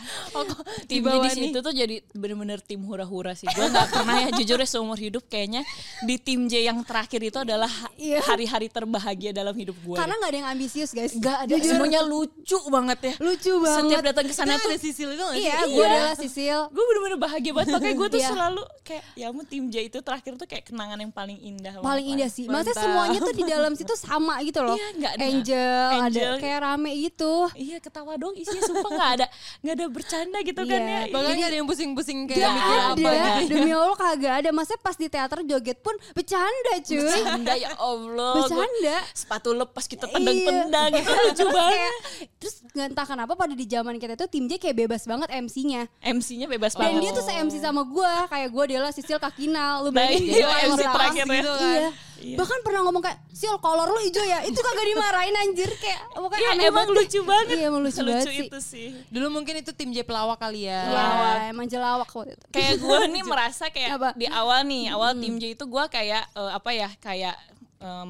Speaker 4: Timnya
Speaker 3: dibawa
Speaker 4: di
Speaker 3: nih.
Speaker 4: situ tuh jadi bener-bener tim hura-hura sih. Gue nggak pernah ya jujur ya seumur hidup kayaknya di tim J yang terakhir itu adalah ha-
Speaker 2: Iya.
Speaker 4: hari-hari terbahagia dalam hidup gue.
Speaker 2: karena nggak ada yang ambisius guys.
Speaker 4: nggak ada semuanya lucu banget ya.
Speaker 2: Lucu
Speaker 4: Setiap
Speaker 2: banget.
Speaker 4: datang ke sana
Speaker 3: Itu
Speaker 4: tuh
Speaker 3: Nah, ada sisil itu gak sih?
Speaker 2: Iya,
Speaker 4: Iya.
Speaker 2: gue adalah Sisil.
Speaker 4: gue bener-bener bahagia banget. Makanya gue tuh
Speaker 2: Iya.
Speaker 4: selalu kayak ya ampun tim J itu terakhir tuh kayak kenangan yang paling indah. banget
Speaker 2: paling
Speaker 4: lah.
Speaker 2: indah sih. Maksudnya
Speaker 3: Mantap.
Speaker 2: semuanya tuh di dalam situ sama gitu loh.
Speaker 4: Iya, nggak ada.
Speaker 2: Angel,
Speaker 4: Angel.
Speaker 2: ada kayak rame gitu.
Speaker 4: Iya ketawa dong isinya sumpah nggak ada nggak ada bercanda gitu
Speaker 2: Iya.
Speaker 4: kan ya.
Speaker 3: Bahkan gak ada yang pusing-pusing kayak
Speaker 2: Gak
Speaker 3: Iya, mikir
Speaker 2: ada,
Speaker 3: apa gitu.
Speaker 2: demi Allah kagak ada. Maksudnya pas di teater joget pun bercanda cuy.
Speaker 4: Bercanda ya Allah. gua-
Speaker 2: Bercanda. Iya.
Speaker 4: sepatu lepas kita tendang-tendang itu (laughs) lucu banget.
Speaker 2: Terus nggak entah kenapa pada di zaman kita tuh tim J kayak bebas banget MC-nya.
Speaker 4: MC-nya bebas
Speaker 2: Oh. Dan
Speaker 4: banget.
Speaker 2: dia tuh se-MC sama gue. Kayak gue adalah Sisil Kakinal. Lu
Speaker 4: Nah,
Speaker 2: bayangin
Speaker 4: iya,
Speaker 2: dia kayak
Speaker 4: MC
Speaker 2: ngebahas
Speaker 4: terakhir ya.
Speaker 2: gitu kan. Iya.
Speaker 4: Iya.
Speaker 2: Bahkan pernah ngomong kayak, Sil kolor lu hijau ya. Itu kagak dimarahin anjir. Kayak pokoknya
Speaker 4: Iya,
Speaker 2: aneh
Speaker 4: emang
Speaker 2: banget.
Speaker 4: lucu banget.
Speaker 2: Iya, emang lucu banget sih.
Speaker 4: itu sih.
Speaker 3: Dulu mungkin itu tim J pelawak kali ya.
Speaker 2: Iya, emang jelawak waktu itu.
Speaker 4: Kayak gue nih merasa kayak
Speaker 2: Apa?
Speaker 4: di awal nih, awal
Speaker 3: Hmm.
Speaker 4: tim J itu gue kayak eh, apa ya, kayak em,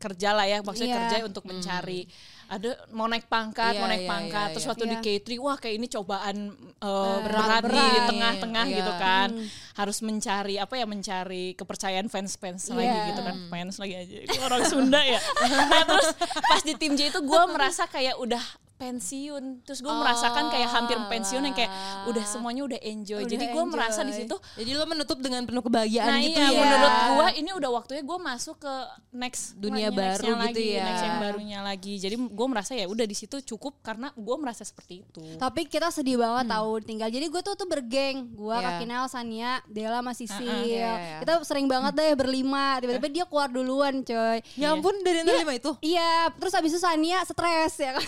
Speaker 4: kerja lah ya, maksudnya
Speaker 2: Iya.
Speaker 4: kerja untuk mencari ada mau naik pangkat, mau
Speaker 3: Hmm. Iya,
Speaker 4: naik
Speaker 3: iya,
Speaker 4: pangkat.
Speaker 3: iya,
Speaker 4: Terus
Speaker 3: iya.
Speaker 4: waktu
Speaker 2: Iya.
Speaker 4: di K3, wah kayak ini cobaan eh,
Speaker 3: berat
Speaker 4: berat, di
Speaker 3: nih,
Speaker 4: tengah-tengah
Speaker 3: iya.
Speaker 4: gitu kan. Harus mencari apa ya, mencari kepercayaan fans-fans lagi
Speaker 2: Iya.
Speaker 4: gitu kan.
Speaker 3: (laughs)
Speaker 4: Fans lagi aja. Gua orang Sunda ya. nah, terus pas di tim J itu gue merasa kayak udah pensiun terus gue merasakan kayak hampir pensiun yang kayak
Speaker 3: Ah.
Speaker 4: udah semuanya udah enjoy
Speaker 3: Udah
Speaker 4: jadi gue merasa di
Speaker 3: enjoy.
Speaker 4: situ
Speaker 3: Jadi lo menutup dengan penuh kebahagiaan
Speaker 4: nah
Speaker 3: gitu
Speaker 4: iya,
Speaker 3: ya.
Speaker 4: menurut gue ini udah waktunya gue masuk ke next
Speaker 3: Dunia
Speaker 4: nextnya
Speaker 3: baru
Speaker 4: lagi,
Speaker 3: gitu ya.
Speaker 4: next yang barunya lagi jadi gue merasa ya udah di situ cukup karena gue merasa seperti itu
Speaker 2: Tapi kita sedih banget
Speaker 4: Hmm.
Speaker 2: tahu tinggal. Jadi gue tuh tuh bergeng, gue
Speaker 3: Iya.
Speaker 2: Kak Kinal, Sania, Dela sama Sisil.
Speaker 3: iya, iya.
Speaker 2: Kita sering banget deh berlima. Tiba-tiba dia keluar duluan, coy.
Speaker 3: Ya ampun dari
Speaker 2: Iya.
Speaker 3: antara lima itu.
Speaker 2: Iya, terus abis itu Sania stres ya
Speaker 3: (laughs)
Speaker 2: kan.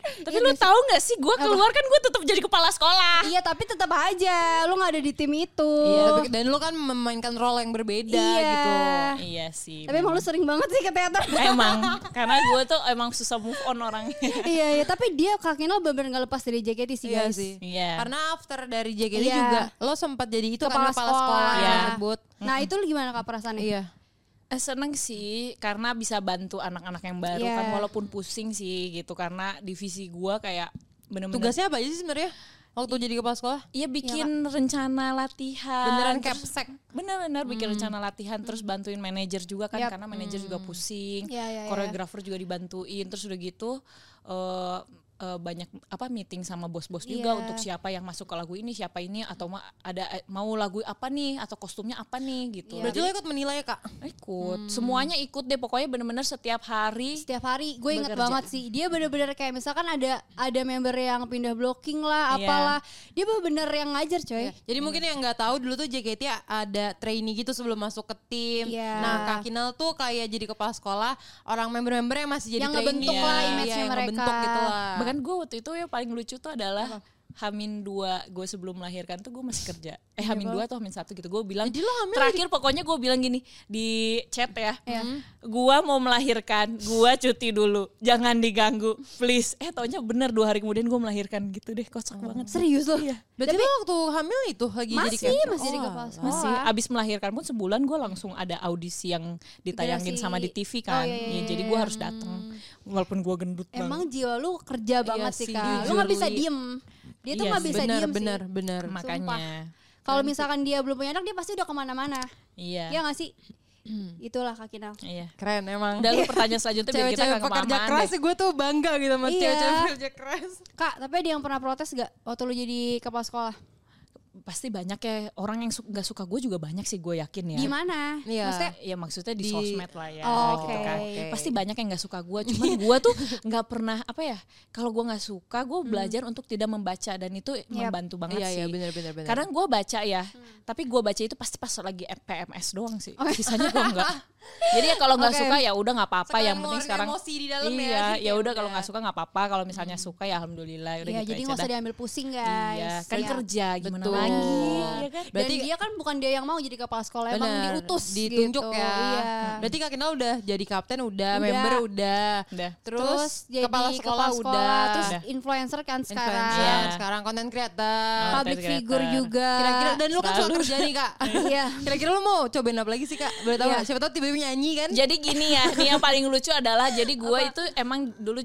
Speaker 4: tapi lu tahu nggak sih gue keluar kan gue tetap jadi kepala sekolah
Speaker 2: iya, tapi tetap aja lu nggak ada di tim itu.
Speaker 3: Iya, tapi- dan lo kan memainkan role yang berbeda
Speaker 2: Iya.
Speaker 3: gitu.
Speaker 4: iya
Speaker 3: kan
Speaker 4: sih
Speaker 2: Tapi emang lu sering banget sih ke
Speaker 3: (laughs)
Speaker 2: teater.
Speaker 4: emang karena gue tuh emang susah move on orangnya
Speaker 2: (laughs) iya, iya, tapi dia Kak Kinal bener-bener nggak lepas dari JKT sih,
Speaker 3: Iya
Speaker 2: guys.
Speaker 3: sih.
Speaker 4: Iya.
Speaker 3: Karena after dari JKT
Speaker 2: Iya.
Speaker 3: juga lo sempat jadi itu kan
Speaker 2: Kepala
Speaker 3: kepala sekolah,
Speaker 2: sekolah.
Speaker 3: yang
Speaker 4: Iya.
Speaker 3: tersebut.
Speaker 2: Nah, itu lu gimana Kak perasaannya?
Speaker 3: Iya.
Speaker 4: Eh, Seneng sih karena bisa bantu anak-anak yang baru
Speaker 2: Iya.
Speaker 4: kan walaupun pusing sih gitu karena divisi gua kayak bener-bener
Speaker 3: Tugasnya apa aja sih sebenarnya? Waktu jadi kepala sekolah?
Speaker 4: Iya bikin rencana
Speaker 2: Eh,
Speaker 4: latihan
Speaker 3: Beneran Oh,
Speaker 4: terus-
Speaker 3: capsek.
Speaker 4: bener-bener bikin rencana latihan terus bantuin manajer juga
Speaker 2: Hmm.
Speaker 4: kan
Speaker 2: Yap.
Speaker 4: karena manajer juga pusing
Speaker 2: Iya, iya, iya.
Speaker 4: koreografer juga dibantuin terus udah gitu eh, eh, banyak apa meeting sama bos-bos
Speaker 2: Iya.
Speaker 4: juga untuk siapa yang masuk ke lagu ini siapa ini atau ma- ada eh, mau lagu apa nih atau kostumnya apa nih
Speaker 2: Iya.
Speaker 4: gitu
Speaker 2: Hmm.
Speaker 3: Berarti lo ikut menilai ya kak?
Speaker 4: ikut semuanya ikut deh pokoknya bener-bener setiap hari
Speaker 2: setiap hari gue inget
Speaker 4: Bekerja.
Speaker 2: banget sih dia bener-bener kayak misalkan ada ada member yang pindah blocking lah
Speaker 4: Iya.
Speaker 2: apalah dia bener-bener yang ngajar coy
Speaker 3: Jadi mungkin yang nggak tahu dulu tuh JKT ada trainee gitu sebelum masuk ke tim.
Speaker 2: Iya.
Speaker 3: Nah Kak Kinal tuh kayak jadi kepala sekolah orang member-member yang masih jadi
Speaker 2: Yang
Speaker 3: trainee.
Speaker 2: ngebentuk
Speaker 3: Iya,
Speaker 2: lah image-nya
Speaker 3: yang
Speaker 2: mereka.
Speaker 3: ngebentuk gitu
Speaker 2: Ah.
Speaker 3: lah.
Speaker 4: bahkan gue waktu itu yang paling lucu tuh adalah Hamin dua gue sebelum melahirkan tuh gue masih kerja eh
Speaker 2: Iya,
Speaker 4: Hamin dua atau Hamin satu gitu gue bilang
Speaker 3: Jadi lo hamil
Speaker 4: terakhir pokoknya gue bilang gini di chat ya
Speaker 2: Iya.
Speaker 4: gue mau melahirkan gue cuti dulu jangan diganggu please eh taunya bener dua hari kemudian gue melahirkan gitu deh kocak banget
Speaker 2: serius loh
Speaker 3: Berarti lo waktu hamil itu lagi Iya. jadi
Speaker 2: masih
Speaker 3: kayak-
Speaker 2: masih di
Speaker 3: Oh,
Speaker 2: kepala sekolah
Speaker 4: masih abis melahirkan pun sebulan gue langsung ada audisi yang ditayangin
Speaker 2: Gerasi.
Speaker 4: sama di TV kan
Speaker 2: Oh, iya, iya, Hmm.
Speaker 4: Ya, jadi gue harus datang walaupun gue gendut
Speaker 2: emang jiwa lu kerja banget sih
Speaker 3: Iya sih,
Speaker 2: kak lu
Speaker 3: jujur,
Speaker 2: nggak bisa
Speaker 3: Li.
Speaker 2: diem dia tuh
Speaker 4: Iya
Speaker 2: nggak
Speaker 4: sih.
Speaker 2: bisa
Speaker 3: benar
Speaker 2: diem
Speaker 3: benar
Speaker 2: sih
Speaker 3: benar.
Speaker 4: banget
Speaker 2: Sumpah.
Speaker 3: Iya.
Speaker 4: makanya
Speaker 2: kalau misalkan dia belum punya anak dia pasti udah kemana-mana
Speaker 4: iya
Speaker 2: ya nggak sih
Speaker 3: Hmm.
Speaker 2: itulah kak Kinal
Speaker 4: iya
Speaker 3: Keren emang. (laughs)
Speaker 4: udah lu pertanyaan selanjutnya biar kita
Speaker 3: Cewek-cewek
Speaker 4: nggak
Speaker 3: pekerja
Speaker 4: kelamaan
Speaker 3: keras
Speaker 4: deh.
Speaker 3: gue tuh bangga gitu sama
Speaker 2: Iya.
Speaker 3: cewek-cewek pekerja keras.
Speaker 2: kak tapi ada yang pernah protes gak waktu lu jadi kepala sekolah
Speaker 4: pasti banyak ya orang yang su- nggak suka gue juga banyak sih gue yakin ya
Speaker 2: gimana
Speaker 3: Iya.
Speaker 2: maksudnya
Speaker 4: ya maksudnya di,
Speaker 3: Di-
Speaker 4: sosmed lah
Speaker 3: Iya,
Speaker 4: ya
Speaker 2: Oh,
Speaker 4: gitu
Speaker 2: oke.
Speaker 4: kan pasti banyak yang nggak suka
Speaker 3: (laughs)
Speaker 4: gue cuman gue tuh nggak pernah apa ya kalau gue nggak suka gue belajar untuk tidak membaca dan itu membantu banget
Speaker 3: Hmm. Iya,
Speaker 4: sih
Speaker 3: iya, Hmm. benar, benar, benar.
Speaker 4: karena gue baca ya tapi gue baca itu pasti pas lagi PMS doang sih
Speaker 3: Oh.
Speaker 4: sisanya gue
Speaker 3: (laughs)
Speaker 4: nggak jadi ya kalau nggak
Speaker 2: Oke.
Speaker 4: suka ya udah nggak apa-apa
Speaker 3: Sekalian
Speaker 4: yang penting
Speaker 3: ngeluarin
Speaker 4: sekarang
Speaker 3: emosi di dalam ya,
Speaker 4: iya
Speaker 3: gitu
Speaker 4: ya
Speaker 3: ya Hmm.
Speaker 4: udah kalau
Speaker 3: udah.
Speaker 4: nggak suka nggak apa-apa kalau misalnya suka ya alhamdulillah udah
Speaker 2: Iya,
Speaker 4: gitu
Speaker 2: jadi
Speaker 4: aja
Speaker 2: nggak usah
Speaker 4: dah.
Speaker 2: diambil pusing
Speaker 4: iya
Speaker 2: guys
Speaker 4: kan
Speaker 2: Iya.
Speaker 4: kerja gimana
Speaker 3: Betul.
Speaker 4: lagi ya kan?
Speaker 3: Berarti-
Speaker 2: dan dia kan bukan dia yang mau jadi kepala sekolah emang
Speaker 3: Benar,
Speaker 2: diutus
Speaker 3: ditunjuk
Speaker 2: gitu.
Speaker 3: ya.
Speaker 2: iya.
Speaker 3: Berarti Kak Kinal udah jadi kapten udah,
Speaker 2: Udah.
Speaker 3: member udah.
Speaker 4: Udah.
Speaker 3: Terus, kepala sekolah, udah.
Speaker 2: terus
Speaker 4: Udah.
Speaker 2: influencer kan
Speaker 3: Influencer,
Speaker 2: sekarang
Speaker 4: Iya.
Speaker 3: sekarang konten creator.
Speaker 4: Konten
Speaker 2: public
Speaker 4: creator.
Speaker 2: figure juga
Speaker 3: Kira-kira dan lu kan suka
Speaker 4: Selalu.
Speaker 3: kerja nih Kak.
Speaker 2: Ah, Iya.
Speaker 3: Kira-kira lu mau cobain apa lagi sih Kak? Boleh tahu
Speaker 2: Iya.
Speaker 3: nggak? Siapa tahu tiba-tiba nyanyi kan?
Speaker 4: (laughs) Jadi gini ya, nih yang paling lucu adalah jadi gue itu emang dulu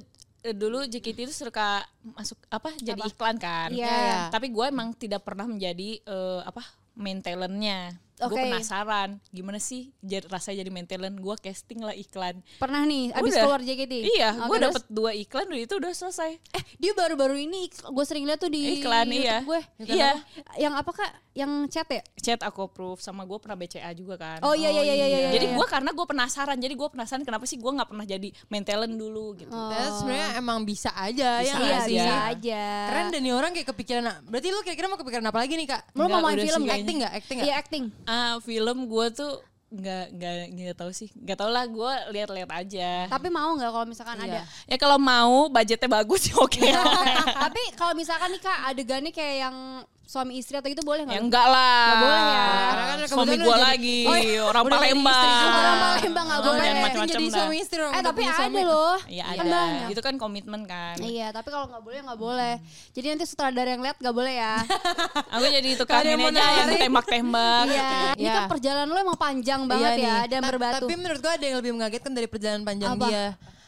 Speaker 4: eh, dulu JKT itu suka masuk apa jadi iklan kan.
Speaker 2: Iya.
Speaker 4: Tapi gue emang tidak pernah menjadi eh, apa main talentnya. Gue
Speaker 2: Oke.
Speaker 4: penasaran gimana sih jadi, rasanya jadi main talent. Gue casting lah iklan.
Speaker 2: pernah nih abis
Speaker 4: Udah.
Speaker 2: keluar JKT
Speaker 4: Iya,
Speaker 2: Oke,
Speaker 4: gue
Speaker 2: terus?
Speaker 4: dapet dua iklan udah itu udah selesai.
Speaker 2: eh dia baru-baru ini gue sering lihat tuh di
Speaker 4: Iklan,
Speaker 2: YouTube
Speaker 4: iya.
Speaker 2: gue
Speaker 4: Iklan Iya. apa?
Speaker 2: yang apa kak yang chat ya
Speaker 4: Chat aku approve sama gue pernah BCA juga kan.
Speaker 2: oh iya iya iya iya, iya
Speaker 4: Jadi
Speaker 2: iya.
Speaker 4: gue karena gue penasaran, jadi gue penasaran kenapa sih gue nggak pernah jadi main talent dulu gitu.
Speaker 3: Dan Ya, sebenarnya emang bisa aja ya
Speaker 4: Bisa
Speaker 3: nggak
Speaker 2: iya
Speaker 4: aja.
Speaker 3: sih?
Speaker 2: bisa aja
Speaker 3: Keren dan nih orang kayak kepikiran. nah, Berarti lu kira-kira mau kepikiran apa lagi nih Kak?
Speaker 2: lu mau
Speaker 4: Enggak,
Speaker 2: main
Speaker 4: udah
Speaker 2: film
Speaker 4: sih,
Speaker 2: nggak?
Speaker 3: Acting nggak? Acting nggak?
Speaker 2: iya acting
Speaker 4: Ah, film gue tuh nggak nggak nggak tahu sih nggak tau lah gue lihat-lihat aja
Speaker 2: tapi mau nggak kalau misalkan
Speaker 3: Iya.
Speaker 2: ada
Speaker 4: ya kalau mau budgetnya bagus (laughs) ya oke
Speaker 2: (laughs) tapi kalau misalkan nih kak adegannya kayak yang suami istri atau gitu boleh nggak?
Speaker 4: ya enggak lah
Speaker 2: Nggak boleh ya.
Speaker 3: Karena kan
Speaker 4: suami
Speaker 3: kebetulan
Speaker 4: gue
Speaker 3: udah jadi-
Speaker 4: lagi
Speaker 3: Oh iya,
Speaker 4: orang
Speaker 3: udah jadi istri
Speaker 4: Palembang
Speaker 2: juga, orang Palembang nggak
Speaker 4: Oh,
Speaker 2: boleh.
Speaker 4: jangan
Speaker 2: Yang
Speaker 4: macam-macam
Speaker 3: jadi
Speaker 4: dah.
Speaker 3: suami istri orang
Speaker 2: eh
Speaker 3: udah
Speaker 2: tapi
Speaker 3: punya
Speaker 2: ada
Speaker 3: suami. Iya, Gitu
Speaker 2: loh.
Speaker 4: ya
Speaker 2: Kan
Speaker 4: ada
Speaker 2: banyak.
Speaker 4: itu kan komitmen kan
Speaker 2: Iya, tapi kalau nggak boleh nggak boleh.
Speaker 3: Hmm.
Speaker 2: Jadi nanti sutradara yang lihat nggak boleh
Speaker 3: (laughs)
Speaker 2: ya.
Speaker 4: aku jadi
Speaker 3: Kalau
Speaker 4: tukang
Speaker 3: dia
Speaker 4: ini
Speaker 3: mau
Speaker 4: aja yang
Speaker 3: nawarin.
Speaker 4: tembak-tembak
Speaker 2: Iya. Ini
Speaker 3: Iya.
Speaker 2: kan perjalanan lo emang panjang
Speaker 3: Iya
Speaker 2: banget ya
Speaker 3: nih.
Speaker 2: dan
Speaker 3: Ta-
Speaker 2: berbatu.
Speaker 3: Tapi menurut gue ada yang lebih mengagetkan dari perjalanan panjang
Speaker 2: Apa?
Speaker 3: dia.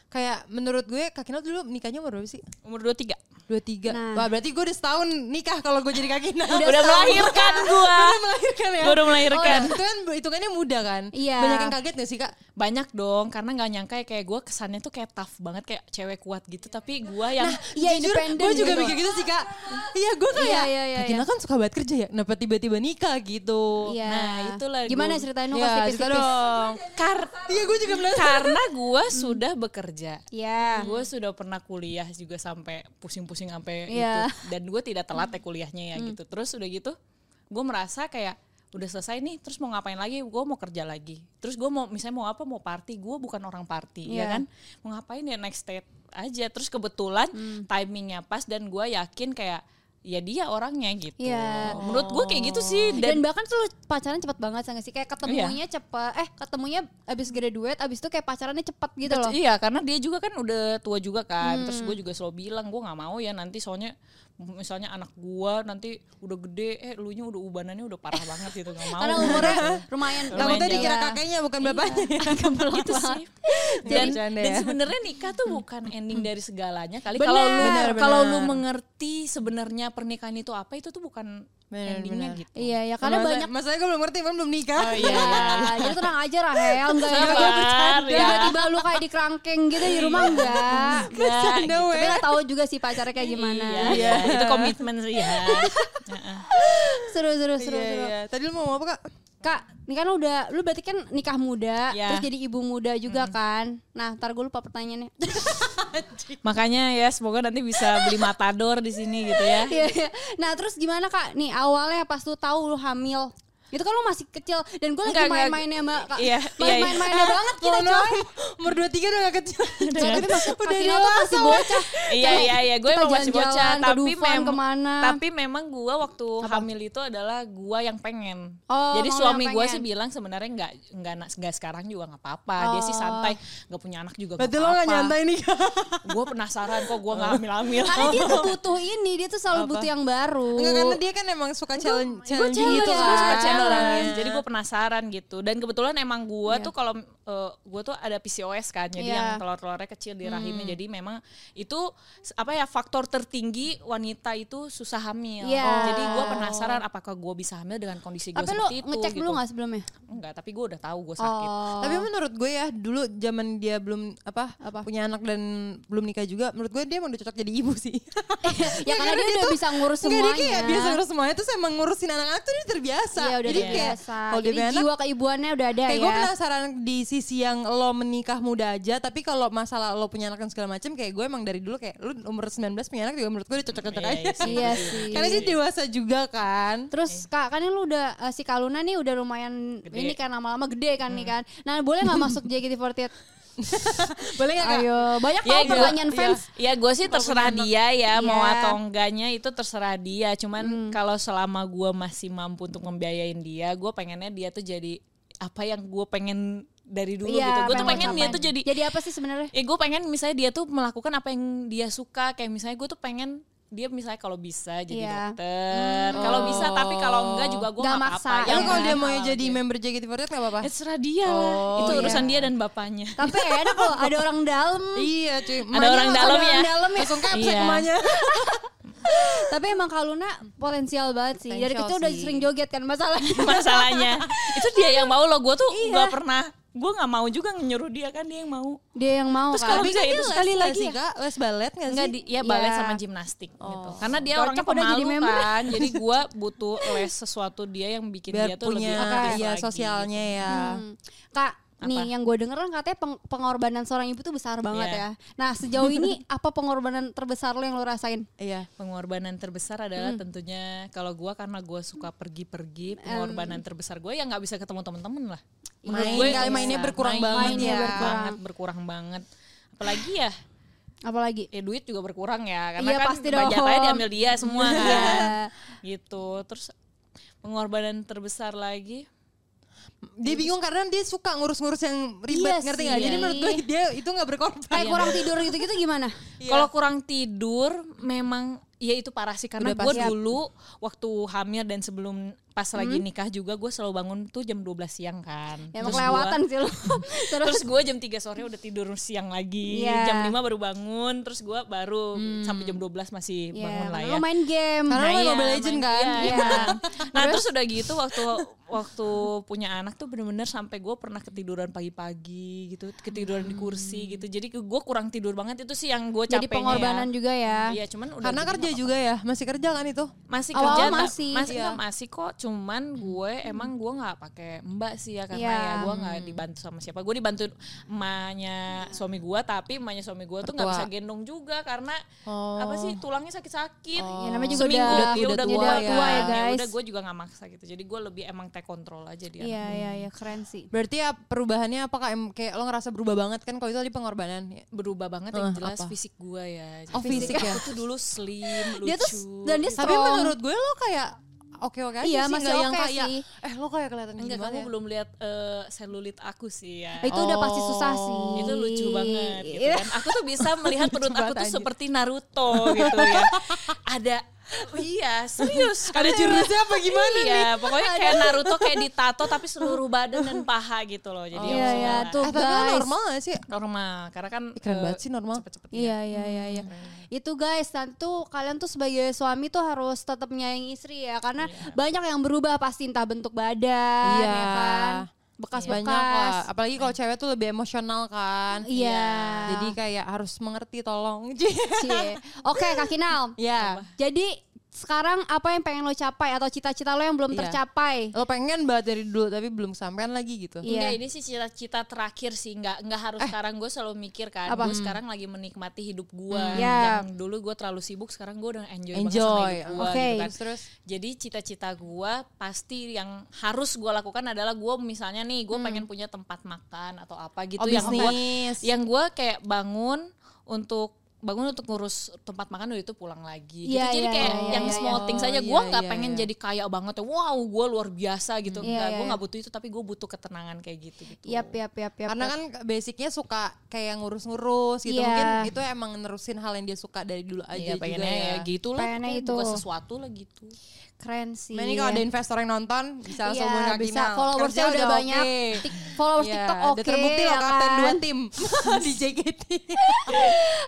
Speaker 3: Kayak menurut gue Kak Kinal dulu nikahnya umur berapa sih?
Speaker 4: umur 23
Speaker 3: Dua tiga.
Speaker 2: Nah.
Speaker 3: Wah berarti gue udah setahun nikah kalau gue jadi Kak Kinal.
Speaker 4: udah, melahirkan Oh, gue
Speaker 3: Udah melahirkan ya.
Speaker 4: Gua udah melahirkan.
Speaker 3: Oh, itu kan hitungannya muda kan?
Speaker 2: Iya.
Speaker 3: Banyak yang kaget gak sih Kak?
Speaker 4: iya. banyak dong karena nggak nyangka ya kayak gue kesannya tuh kayak tough banget kayak cewek kuat gitu tapi gue yang
Speaker 2: Iya
Speaker 3: Jujur,
Speaker 2: independen
Speaker 3: gue juga
Speaker 2: gitu.
Speaker 3: mikir gitu sih kak. Iya gue kayak,
Speaker 2: Iya,
Speaker 3: ya,
Speaker 2: iya, iya, iya.
Speaker 3: kan suka banget kerja ya, kenapa tiba-tiba nikah gitu.
Speaker 2: Iya.
Speaker 4: Nah, itulah
Speaker 2: Gimana
Speaker 4: gua-
Speaker 2: ceritain dong
Speaker 3: Iya,
Speaker 2: Kak,
Speaker 3: cerita
Speaker 2: tipis-tipis.
Speaker 4: Nah,
Speaker 3: dong.
Speaker 4: eh, kar-
Speaker 3: Iya gue juga penasaran.
Speaker 4: karena gue sudah bekerja
Speaker 2: Iya.
Speaker 4: gue sudah pernah kuliah juga sampai pusing-pusing
Speaker 2: Iya.
Speaker 4: sampai
Speaker 2: Hmm.
Speaker 4: itu dan gue tidak telat ya kuliahnya ya gitu terus udah gitu gue merasa kayak udah selesai nih terus mau ngapain lagi gue mau kerja lagi terus gue mau misalnya mau apa mau party gue bukan orang party
Speaker 2: Iya.
Speaker 4: ya kan mau ngapain ya next step aja terus kebetulan
Speaker 2: Hmm.
Speaker 4: timingnya pas dan gue yakin kayak ya dia orangnya gitu
Speaker 2: Iya. Oh.
Speaker 4: menurut gue kayak gitu sih
Speaker 2: Dan,
Speaker 4: dan,
Speaker 2: bahkan tuh lu pacaran cepet banget sangat sih kayak ketemunya cepet eh ketemunya abis graduate abis itu kayak pacarannya cepet gitu loh
Speaker 4: Iya karena dia juga kan udah tua juga kan Terus gue juga selalu bilang gue gak mau ya nanti soalnya Misalnya anak gue nanti udah gede Eh lu nya udah ubanannya udah parah banget gitu Gak mau
Speaker 2: karena umurnya lumayan
Speaker 3: Takutnya
Speaker 4: Lumayan
Speaker 3: dikira
Speaker 2: Iya.
Speaker 3: (laughs) kakeknya bukan bapaknya.
Speaker 4: gitu
Speaker 2: (laughs)
Speaker 4: sih dan,
Speaker 3: Bercanda
Speaker 4: dan
Speaker 3: ya.
Speaker 4: sebenarnya nikah tuh bukan ending dari segalanya kali
Speaker 2: Bener.
Speaker 4: kalau lu
Speaker 2: Bener,
Speaker 4: kalau
Speaker 3: bener.
Speaker 4: lu mengerti sebenarnya pernikahan itu apa itu tuh bukan
Speaker 3: Bener,
Speaker 4: endingnya
Speaker 3: bener.
Speaker 4: gitu
Speaker 2: Iya, ya karena
Speaker 3: Masa-
Speaker 2: banyak
Speaker 3: Masalahnya gue belum ngerti, kan belum nikah.
Speaker 4: Oh, iya.
Speaker 2: Ya, jadi tenang aja Rahel, enggak ya.
Speaker 4: Sabar, ya.
Speaker 2: Tiba-tiba lu kayak di kerangkeng gitu di rumah enggak.
Speaker 4: Enggak,
Speaker 3: Bercanda,
Speaker 4: gitu.
Speaker 2: Tapi nggak tahu juga sih pacarnya kayak gimana.
Speaker 4: Iya, iya, itu komitmen sih ya.
Speaker 2: Seru seru seru
Speaker 3: Iya,
Speaker 2: seru.
Speaker 3: iya. Tadi lu mau ngomong apa kak?
Speaker 2: Kak, ini kan lu udah lu berarti kan nikah muda,
Speaker 4: Iya. Hmm.
Speaker 2: terus jadi ibu muda juga kan. Nah, ntar gue lupa pertanyaannya. (laughs)
Speaker 4: Makanya ya semoga nanti bisa beli matador di sini gitu ya.
Speaker 2: Iya, iya. nah, terus gimana Kak? Nih, awalnya pas lu tahu lu hamil. Itu kan lu masih kecil dan gue lagi
Speaker 4: Enggak, enggak.
Speaker 2: main-mainnya sama Kak.
Speaker 4: Iya, iya, iya. (laughs)
Speaker 2: Main-main-mainnya banget kita,
Speaker 3: Kalau
Speaker 2: coy.
Speaker 3: Umur 23 udah gak
Speaker 2: (laughs)
Speaker 3: kecil.
Speaker 2: Tapi masuk
Speaker 3: udah
Speaker 2: kasino tuh
Speaker 3: dewasa.
Speaker 2: masih bocah.
Speaker 4: Iya
Speaker 2: Kayak
Speaker 4: iya iya, gue
Speaker 2: kita
Speaker 4: emang masih bocah.
Speaker 2: jalan-jalan ke
Speaker 4: Tapi
Speaker 2: Dufan,
Speaker 4: mem-
Speaker 2: kemana.
Speaker 4: tapi memang gue waktu hamil itu adalah gue yang pengen.
Speaker 2: Oh,
Speaker 4: Jadi
Speaker 2: mau
Speaker 4: suami
Speaker 2: yang
Speaker 4: gue
Speaker 2: pengen.
Speaker 4: sih bilang sebenarnya nggak nggak na- nggak sekarang juga nggak apa-apa. Dia
Speaker 2: Oh.
Speaker 4: sih santai, nggak punya anak juga nggak
Speaker 3: Berarti lo gak
Speaker 4: apa-apa.
Speaker 3: nyantai nikah.
Speaker 4: Gue penasaran kok gue nggak hamil-hamil.
Speaker 2: Karena dia tuh butuh ini, dia tuh selalu butuh yang baru.
Speaker 3: Enggak, karena dia kan emang suka challenge, challenge
Speaker 2: challenge,
Speaker 3: gitu kan.
Speaker 2: gue
Speaker 4: Iya, suka
Speaker 2: Ah,
Speaker 4: challenge.
Speaker 3: orangnya.
Speaker 4: Jadi gue penasaran gitu. Dan kebetulan emang gue tuh kalau eh, gue tuh ada PCOS kan, jadi
Speaker 2: Iya. Hmm.
Speaker 4: yang telur-telurnya kecil di rahimnya. Jadi memang itu s- apa ya faktor tertinggi wanita itu susah hamil.
Speaker 2: Iya.
Speaker 4: Jadi gue penasaran apakah gue bisa hamil dengan kondisi gue
Speaker 2: Tapi lu
Speaker 4: seperti itu.
Speaker 2: ngecek
Speaker 4: gitu.
Speaker 2: dulu gak sebelumnya?
Speaker 4: Enggak, tapi gue udah tahu gue sakit.
Speaker 2: Oh.
Speaker 3: Tapi menurut gue ya dulu zaman dia belum apa,
Speaker 2: Apa?
Speaker 3: punya anak dan belum nikah juga, menurut gue dia emang udah cocok jadi ibu sih.
Speaker 2: (laughs) ya karena dia, udah
Speaker 3: tuh-
Speaker 2: bisa ngurus
Speaker 3: Enggak,
Speaker 2: semuanya.
Speaker 3: dia kayak biasa ngurus semuanya terus emang ngurusin anak-anak tuh dia terbiasa.
Speaker 2: Iya udah
Speaker 3: Jadi kayak
Speaker 2: biasa.
Speaker 3: kalau dia
Speaker 2: Jadi
Speaker 3: punya anak
Speaker 2: jiwa keibuannya udah ada
Speaker 3: kayak
Speaker 2: ya.
Speaker 3: gue penasaran di sisi yang lo menikah muda aja tapi kalau masalah lo punya anak dan segala macam kayak gue emang dari dulu kayak lo umur 19 punya anak juga menurut gue udah cocok-cocok
Speaker 4: Iya,
Speaker 3: aja
Speaker 4: iya sih.
Speaker 2: Iya sih.
Speaker 3: karena dia dewasa juga kan
Speaker 2: Terus kak kan ini lu udah eh, si Kaluna nih udah lumayan
Speaker 4: Gede. Hmm.
Speaker 2: ini kan lama-lama gede kan nih kan. Nah boleh nggak
Speaker 4: (laughs)
Speaker 2: masuk JKT48?
Speaker 3: boleh
Speaker 4: Iya,
Speaker 3: gak kak?
Speaker 2: Ayo banyak tau
Speaker 4: gua-
Speaker 2: pertanyaan fans.
Speaker 4: Ya, gue sih terserah dia ya mau
Speaker 2: Iya. Hmm.
Speaker 4: atau enggaknya itu terserah dia. Cuman kalau selama gue masih mampu untuk membiayain dia, gue pengennya dia tuh jadi apa yang gue pengen dari dulu
Speaker 2: Iya, Ya,
Speaker 4: gitu. Gue tuh
Speaker 2: pengen
Speaker 4: pengen dia
Speaker 2: ngapain.
Speaker 4: tuh jadi.
Speaker 2: Jadi apa sih
Speaker 4: (laughs)
Speaker 2: sebenarnya?
Speaker 4: Eh gue pengen misalnya dia tuh melakukan apa yang dia suka. Kayak misalnya gue tuh pengen dia misalnya kalau bisa jadi
Speaker 2: Iya.
Speaker 4: dokter, kalau bisa tapi kalau enggak juga gue
Speaker 2: Nggak
Speaker 4: nggak apa-apa.
Speaker 2: maksa,
Speaker 3: Yang
Speaker 2: Iya.
Speaker 3: kalau dia mau
Speaker 4: halal
Speaker 3: jadi
Speaker 4: aja.
Speaker 3: member JKT48 gak apa-apa?
Speaker 4: Eh, terserah dia lah.
Speaker 3: Oh,
Speaker 4: itu
Speaker 3: iya.
Speaker 4: urusan dia dan bapaknya.
Speaker 2: Tapi enak loh ada orang dalam.
Speaker 3: Iya cuy.
Speaker 4: Ada orang dalam ya.
Speaker 3: dalam ya. Langsung kapsek
Speaker 4: Iya.
Speaker 3: emaknya.
Speaker 2: Tapi emang Kaluna potensial banget sih. Dari
Speaker 3: Potensial
Speaker 2: kecil udah
Speaker 3: sih.
Speaker 2: sering joget kan masalahnya.
Speaker 4: (laughs) Iya. masalahnya itu dia yang mau loh gue tuh nggak pernah gue nggak mau juga nyuruh dia kan dia yang mau
Speaker 2: (laughs) Dia yang mau
Speaker 4: Terus
Speaker 2: kan.
Speaker 3: (laughs)
Speaker 4: kalau
Speaker 3: Tapi
Speaker 4: bisa
Speaker 3: kan
Speaker 4: itu
Speaker 3: dia les
Speaker 4: sekali
Speaker 3: nggak
Speaker 4: lagi
Speaker 3: sih,
Speaker 4: ya.
Speaker 3: Kak? Les balet gak sih?
Speaker 4: Enggak di ya balet
Speaker 2: Iya.
Speaker 4: sama gimnastik gitu. Karena dia
Speaker 2: Cocok
Speaker 4: orangnya
Speaker 2: udah jadi
Speaker 4: pemalu
Speaker 2: member.
Speaker 4: kan. (laughs) Jadi gue butuh les sesuatu dia yang bikin
Speaker 3: Biar
Speaker 4: dia tuh
Speaker 3: punya
Speaker 4: lebih aktif
Speaker 3: ya
Speaker 4: lagi.
Speaker 3: sosialnya ya.
Speaker 2: Hmm. Kak, nih yang gue denger kan katanya peng- pengorbanan seorang ibu tuh besar banget
Speaker 4: Iya.
Speaker 2: ya. Nah sejauh ini apa pengorbanan terbesar lo yang lo rasain?
Speaker 3: Iya.
Speaker 4: Pengorbanan terbesar adalah tentunya kalau gue karena gue suka pergi-pergi, pengorbanan terbesar gue ya nggak bisa ketemu temen-temen lah.
Speaker 3: Main
Speaker 4: gue
Speaker 3: kali
Speaker 4: nggak
Speaker 3: mainnya
Speaker 4: bisa.
Speaker 3: berkurang
Speaker 4: Mainnya
Speaker 3: banget ya.
Speaker 4: berkurang banget, berkurang banget. Apalagi ya
Speaker 2: Apalagi?
Speaker 4: eh duit juga berkurang ya karena
Speaker 2: Iya,
Speaker 4: kan
Speaker 2: pasti dong.
Speaker 4: bajatannya diambil dia
Speaker 2: (laughs)
Speaker 4: semua
Speaker 2: Iya.
Speaker 4: kan gitu terus pengorbanan terbesar lagi
Speaker 3: Dia bingung karena dia suka ngurus-ngurus yang ribet,
Speaker 2: Iya
Speaker 3: ngerti
Speaker 2: sih.
Speaker 3: gak? Jadi menurut gue dia itu gak berkorban. (laughs)
Speaker 4: Iya,
Speaker 2: Kayak kurang tidur gitu-gitu gimana?
Speaker 4: kalau kurang tidur memang ya itu parah sih karena
Speaker 3: Udah
Speaker 4: gue
Speaker 3: pasti.
Speaker 4: dulu waktu hamil dan sebelum pas
Speaker 2: Hmm?
Speaker 4: lagi nikah juga gue selalu bangun tuh jam 12 siang kan.
Speaker 2: Emang
Speaker 4: Terus gua-
Speaker 2: kelewatan Ya, sih lo.
Speaker 4: (laughs) Terus
Speaker 2: Terus
Speaker 4: gue jam 3 sore udah tidur siang lagi,
Speaker 2: Iya. Hmm.
Speaker 4: jam 5 baru bangun, terus gue baru sampai jam 12 masih bangun
Speaker 2: ya,
Speaker 4: lah
Speaker 2: yeah,
Speaker 4: ya.
Speaker 2: lo main game.
Speaker 3: Karena lo
Speaker 4: Nah,
Speaker 3: main
Speaker 4: iya,
Speaker 3: Mobile Legend
Speaker 4: main-
Speaker 3: kan?
Speaker 4: iya, (laughs) iya.
Speaker 3: (laughs)
Speaker 4: Nah terus, udah gitu waktu waktu punya anak tuh bener-bener sampai gue pernah ketiduran pagi-pagi gitu, ketiduran di
Speaker 3: Hmm.
Speaker 4: kursi gitu. Jadi gue kurang tidur banget itu sih yang gue capeknya.
Speaker 2: Jadi pengorbanan
Speaker 4: ya.
Speaker 2: juga ya.
Speaker 4: Iya cuman udah
Speaker 3: Karena
Speaker 4: gitu
Speaker 3: kerja
Speaker 4: nggak
Speaker 3: juga ya, masih kerja kan itu?
Speaker 4: masih
Speaker 2: Awal-awal
Speaker 4: kerja nggak-
Speaker 2: masih,
Speaker 4: masih
Speaker 3: iya.
Speaker 4: nggak masih kok cuman gue emang gue nggak pakai mbak sih ya karena
Speaker 2: Iya.
Speaker 4: ya gue nggak dibantu sama siapa gue dibantu emaknya suami gue tapi emaknya suami gue tuh nggak
Speaker 3: Mertua.
Speaker 4: bisa gendong juga karena
Speaker 3: Oh.
Speaker 4: apa sih tulangnya sakit-sakit
Speaker 2: Ya, namanya juga
Speaker 4: seminggu
Speaker 2: udah-
Speaker 4: dia
Speaker 3: udah
Speaker 4: udah
Speaker 3: tua
Speaker 4: tua,
Speaker 3: ya.
Speaker 4: kan.
Speaker 2: tua ya,
Speaker 4: Ya
Speaker 2: guys.
Speaker 4: udah gue juga nggak maksa gitu jadi gue lebih emang take control aja dia
Speaker 2: Iya, iya, iya, keren sih.
Speaker 3: Berarti ya perubahannya apa Kak? Em- kayak lo ngerasa berubah banget kan kalau itu tadi pengorbanan. ya?
Speaker 4: berubah banget yang
Speaker 3: Eh,
Speaker 4: jelas
Speaker 3: apa?
Speaker 4: fisik gue ya
Speaker 3: Oh, fisik ya.
Speaker 4: aku tuh dulu slim lucu
Speaker 2: Dia tuh dan dia
Speaker 3: Tapi
Speaker 2: strong.
Speaker 3: menurut gue lo kayak oke-oke aja
Speaker 2: Iya,
Speaker 3: sih,
Speaker 2: masih
Speaker 3: nggak Gitu. yang
Speaker 2: oke
Speaker 3: kayak
Speaker 2: sih.
Speaker 3: eh lo kayak kelihatan
Speaker 4: enggak
Speaker 3: gimana
Speaker 4: kamu
Speaker 3: ya?
Speaker 4: belum lihat eh, selulit aku sih ya
Speaker 2: itu udah pasti susah sih.
Speaker 4: itu lucu banget gitu
Speaker 2: Iya.
Speaker 4: kan. Aku tuh
Speaker 3: (laughs)
Speaker 4: bisa melihat perut
Speaker 3: Lucu
Speaker 4: aku
Speaker 3: banget,
Speaker 4: tuh
Speaker 3: anjir.
Speaker 4: seperti Naruto gitu ya. Ada iya serius
Speaker 3: (laughs) Ada jurusnya apa gimana
Speaker 4: iya, pokoknya kayak Naruto kayak ditato tapi seluruh badan dan paha gitu loh. Jadi
Speaker 2: Iya,
Speaker 4: ya
Speaker 2: iya,
Speaker 4: sudah.
Speaker 2: tuh
Speaker 3: Eh, tapi lo
Speaker 2: guys.
Speaker 3: normal gak sih?
Speaker 4: normal karena kan
Speaker 3: Ih, keren
Speaker 4: eh,
Speaker 3: banget sih normal.
Speaker 4: cepet-cepet ya.
Speaker 2: Iya iya iya iya. Itu guys, nanti tuh kalian tuh sebagai suami tuh harus tetap menyayangi istri ya karena
Speaker 4: Iya.
Speaker 2: banyak yang berubah pasti entah bentuk badan
Speaker 3: Iya.
Speaker 2: ya
Speaker 3: Banyak
Speaker 2: kan.
Speaker 3: lah.
Speaker 2: Bekas-bekas.
Speaker 3: Apalagi kalau cewek tuh lebih emosional kan.
Speaker 2: Iya.
Speaker 3: Jadi kayak harus mengerti tolong. (laughs) Iya.
Speaker 2: Cie. Oke, Kak Kinal.
Speaker 3: ya.
Speaker 2: Jadi sekarang apa yang pengen lo capai atau cita-cita lo yang belum
Speaker 3: Iya.
Speaker 2: tercapai?
Speaker 3: Lo pengen banget dari dulu tapi belum sampean lagi gitu.
Speaker 2: Iya.
Speaker 4: Enggak ini sih cita-cita terakhir sih nggak nggak harus
Speaker 3: Eh.
Speaker 4: sekarang gue selalu mikir kan
Speaker 2: Apa?
Speaker 4: gue
Speaker 3: Hmm.
Speaker 4: sekarang lagi menikmati hidup gue
Speaker 2: Hmm. Ya.
Speaker 4: yang dulu gue terlalu sibuk sekarang gue udah enjoy,
Speaker 3: iya. Enjoy.
Speaker 4: banget sama Iya, hidup gue
Speaker 2: Oke.
Speaker 4: gitu kan.
Speaker 3: Terus terus
Speaker 4: Jadi cita-cita gue pasti yang harus gue lakukan adalah gue misalnya nih gue pengen punya tempat makan atau apa
Speaker 3: Oh,
Speaker 4: gitu yang ya, gue
Speaker 3: bisnis.
Speaker 4: yang gue kayak bangun untuk bangun untuk ngurus tempat makan udah itu pulang lagi.
Speaker 2: Iya,
Speaker 4: gitu. Jadi
Speaker 2: iya,
Speaker 4: kayak
Speaker 2: iya,
Speaker 4: yang
Speaker 2: iya,
Speaker 4: small
Speaker 3: iya.
Speaker 4: things aja
Speaker 3: Oh,
Speaker 4: gue
Speaker 3: iya,
Speaker 4: nggak
Speaker 3: iya,
Speaker 4: pengen
Speaker 3: iya.
Speaker 4: jadi kaya banget. ya, Wow gue luar biasa gitu.
Speaker 2: Iya,
Speaker 4: Enggak,
Speaker 2: iya,
Speaker 4: gue nggak
Speaker 2: iya.
Speaker 4: butuh itu tapi gue butuh ketenangan kayak gitu gitu.
Speaker 2: Yap, yap, yap, yap.
Speaker 3: karena
Speaker 2: yap.
Speaker 3: kan basicnya suka kayak ngurus-ngurus gitu.
Speaker 2: Iya.
Speaker 3: Mungkin itu emang nerusin hal yang dia suka dari dulu aja
Speaker 4: Iya
Speaker 3: juga
Speaker 4: pengennya ya,
Speaker 3: ya.
Speaker 4: gitu lah.
Speaker 2: Pengennya
Speaker 4: pokoknya
Speaker 2: itu.
Speaker 4: Bukan sesuatu lah gitu.
Speaker 2: keren sih.
Speaker 3: Nah, ini kalau ada investor yang nonton bisa langsung
Speaker 2: Iya,
Speaker 3: hubungin Kak
Speaker 2: bisa
Speaker 3: Kinal.
Speaker 2: followersnya
Speaker 3: Kerja
Speaker 2: udah banyak.
Speaker 3: oke.
Speaker 2: Tik- followers
Speaker 3: Iya,
Speaker 2: TikTok
Speaker 3: udah
Speaker 2: oke.
Speaker 3: terbukti loh
Speaker 2: ya
Speaker 3: kapten dua
Speaker 2: kan?
Speaker 3: tim di JKT.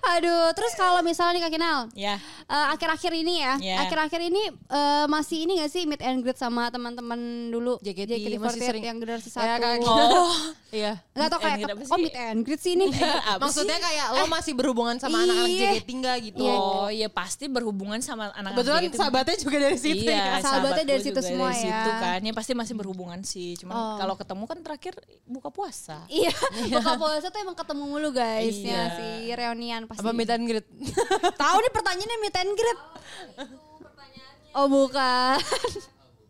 Speaker 2: Aduh, terus kalau misalnya nih Kak Kinal,
Speaker 3: Iya.
Speaker 4: Ya.
Speaker 2: eh, akhir-akhir ini ya,
Speaker 4: Iya.
Speaker 2: akhir-akhir ini eh, masih ini gak sih meet and greet sama teman-teman dulu
Speaker 3: JKT, masih
Speaker 2: JKT48
Speaker 3: sering.
Speaker 2: yang generasi
Speaker 3: Iya,
Speaker 2: satu?
Speaker 3: Kak
Speaker 2: Nggak
Speaker 4: Oh.
Speaker 3: Iya.
Speaker 2: tau
Speaker 4: Meet and
Speaker 2: kayak,
Speaker 4: greet apa
Speaker 2: oh
Speaker 4: sih?
Speaker 2: meet and greet sih
Speaker 3: (laughs)
Speaker 2: ini.
Speaker 4: Apa sih?
Speaker 3: Maksudnya kayak lo masih berhubungan sama anak-anak
Speaker 2: Iya.
Speaker 3: JKT enggak gitu. Nah,
Speaker 4: Oh iya pasti berhubungan sama anak-anak
Speaker 3: Kebetulan
Speaker 4: gitu.
Speaker 3: sahabatnya juga dari situ ya.
Speaker 2: Sahabatnya
Speaker 4: Iya, sahabat
Speaker 2: dari
Speaker 4: gua
Speaker 2: situ
Speaker 4: juga
Speaker 2: semua
Speaker 4: dari
Speaker 2: ya.
Speaker 4: situ kan. Ya pasti masih berhubungan sih. Cuman
Speaker 2: Oh.
Speaker 4: kalau ketemu kan terakhir buka puasa.
Speaker 2: Iya, buka puasa tuh emang ketemu mulu guys ya
Speaker 4: Iya.
Speaker 2: sih, reunian pasti.
Speaker 3: Apa meet and greet?
Speaker 2: Tahu nih pertanyaannya meet and greet. Oh bukan.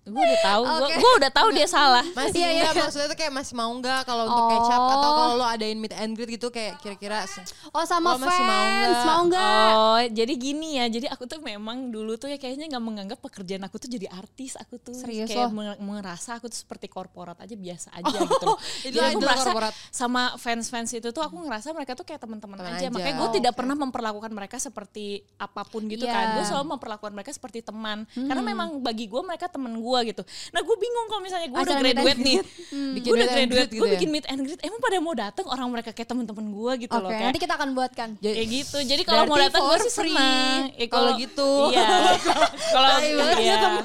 Speaker 4: Gue udah tahu, gua
Speaker 2: Oke.
Speaker 4: gua udah tahu dia salah.
Speaker 3: Masih
Speaker 2: Iya, iya.
Speaker 3: enggak maksudnya tuh kayak masih mau enggak kalau untuk
Speaker 2: Oh.
Speaker 3: kecap atau kalau lo adain meet and greet gitu kayak kira-kira se-
Speaker 2: Oh
Speaker 3: Oh,
Speaker 2: sama fans,
Speaker 3: masih mau nggak?
Speaker 2: mau nggak?
Speaker 4: Oh, jadi gini ya. Jadi aku tuh memang dulu tuh ya kayaknya nggak menganggap pekerjaan aku tuh jadi artis. Aku tuh
Speaker 2: Serius
Speaker 4: kayak
Speaker 3: oh?
Speaker 2: loh?
Speaker 4: meng- merasa aku tuh seperti korporat aja biasa aja gitu.
Speaker 3: (laughs)
Speaker 4: loh.
Speaker 3: itu
Speaker 4: Jadi aku
Speaker 3: idol Oh,
Speaker 4: merasa
Speaker 3: korporat.
Speaker 4: sama fans-fans itu tuh aku ngerasa mereka tuh kayak teman-teman
Speaker 3: Teman aja.
Speaker 4: aja. Makanya gue
Speaker 3: Oh,
Speaker 4: tidak
Speaker 3: oke.
Speaker 4: pernah memperlakukan mereka seperti apapun gitu
Speaker 2: Iya.
Speaker 4: kan. Gue selalu memperlakukan mereka seperti teman.
Speaker 3: Hmm.
Speaker 4: Karena memang bagi gue mereka teman gue gitu. Nah gue bingung kalau misalnya gue udah
Speaker 2: Acara meet and
Speaker 4: graduate nih.
Speaker 3: Bikin
Speaker 4: Gue udah
Speaker 3: meet and
Speaker 4: graduate,
Speaker 3: greet gitu
Speaker 4: gue
Speaker 3: ya?
Speaker 4: bikin meet and greet. Emang pada mau datang orang mereka kayak teman-teman gue gitu
Speaker 2: Oke,
Speaker 4: loh. Kayak,
Speaker 2: nanti kita akan buatkan.
Speaker 4: kayak gitu. Jadi kalau mau
Speaker 3: Berarti
Speaker 4: datang gue
Speaker 3: for
Speaker 4: sih
Speaker 3: free.
Speaker 4: senang. Ya,
Speaker 3: Kalau gitu.
Speaker 4: Iya. (laughs) kalau
Speaker 3: Tai banget ya
Speaker 4: iya.
Speaker 3: teman.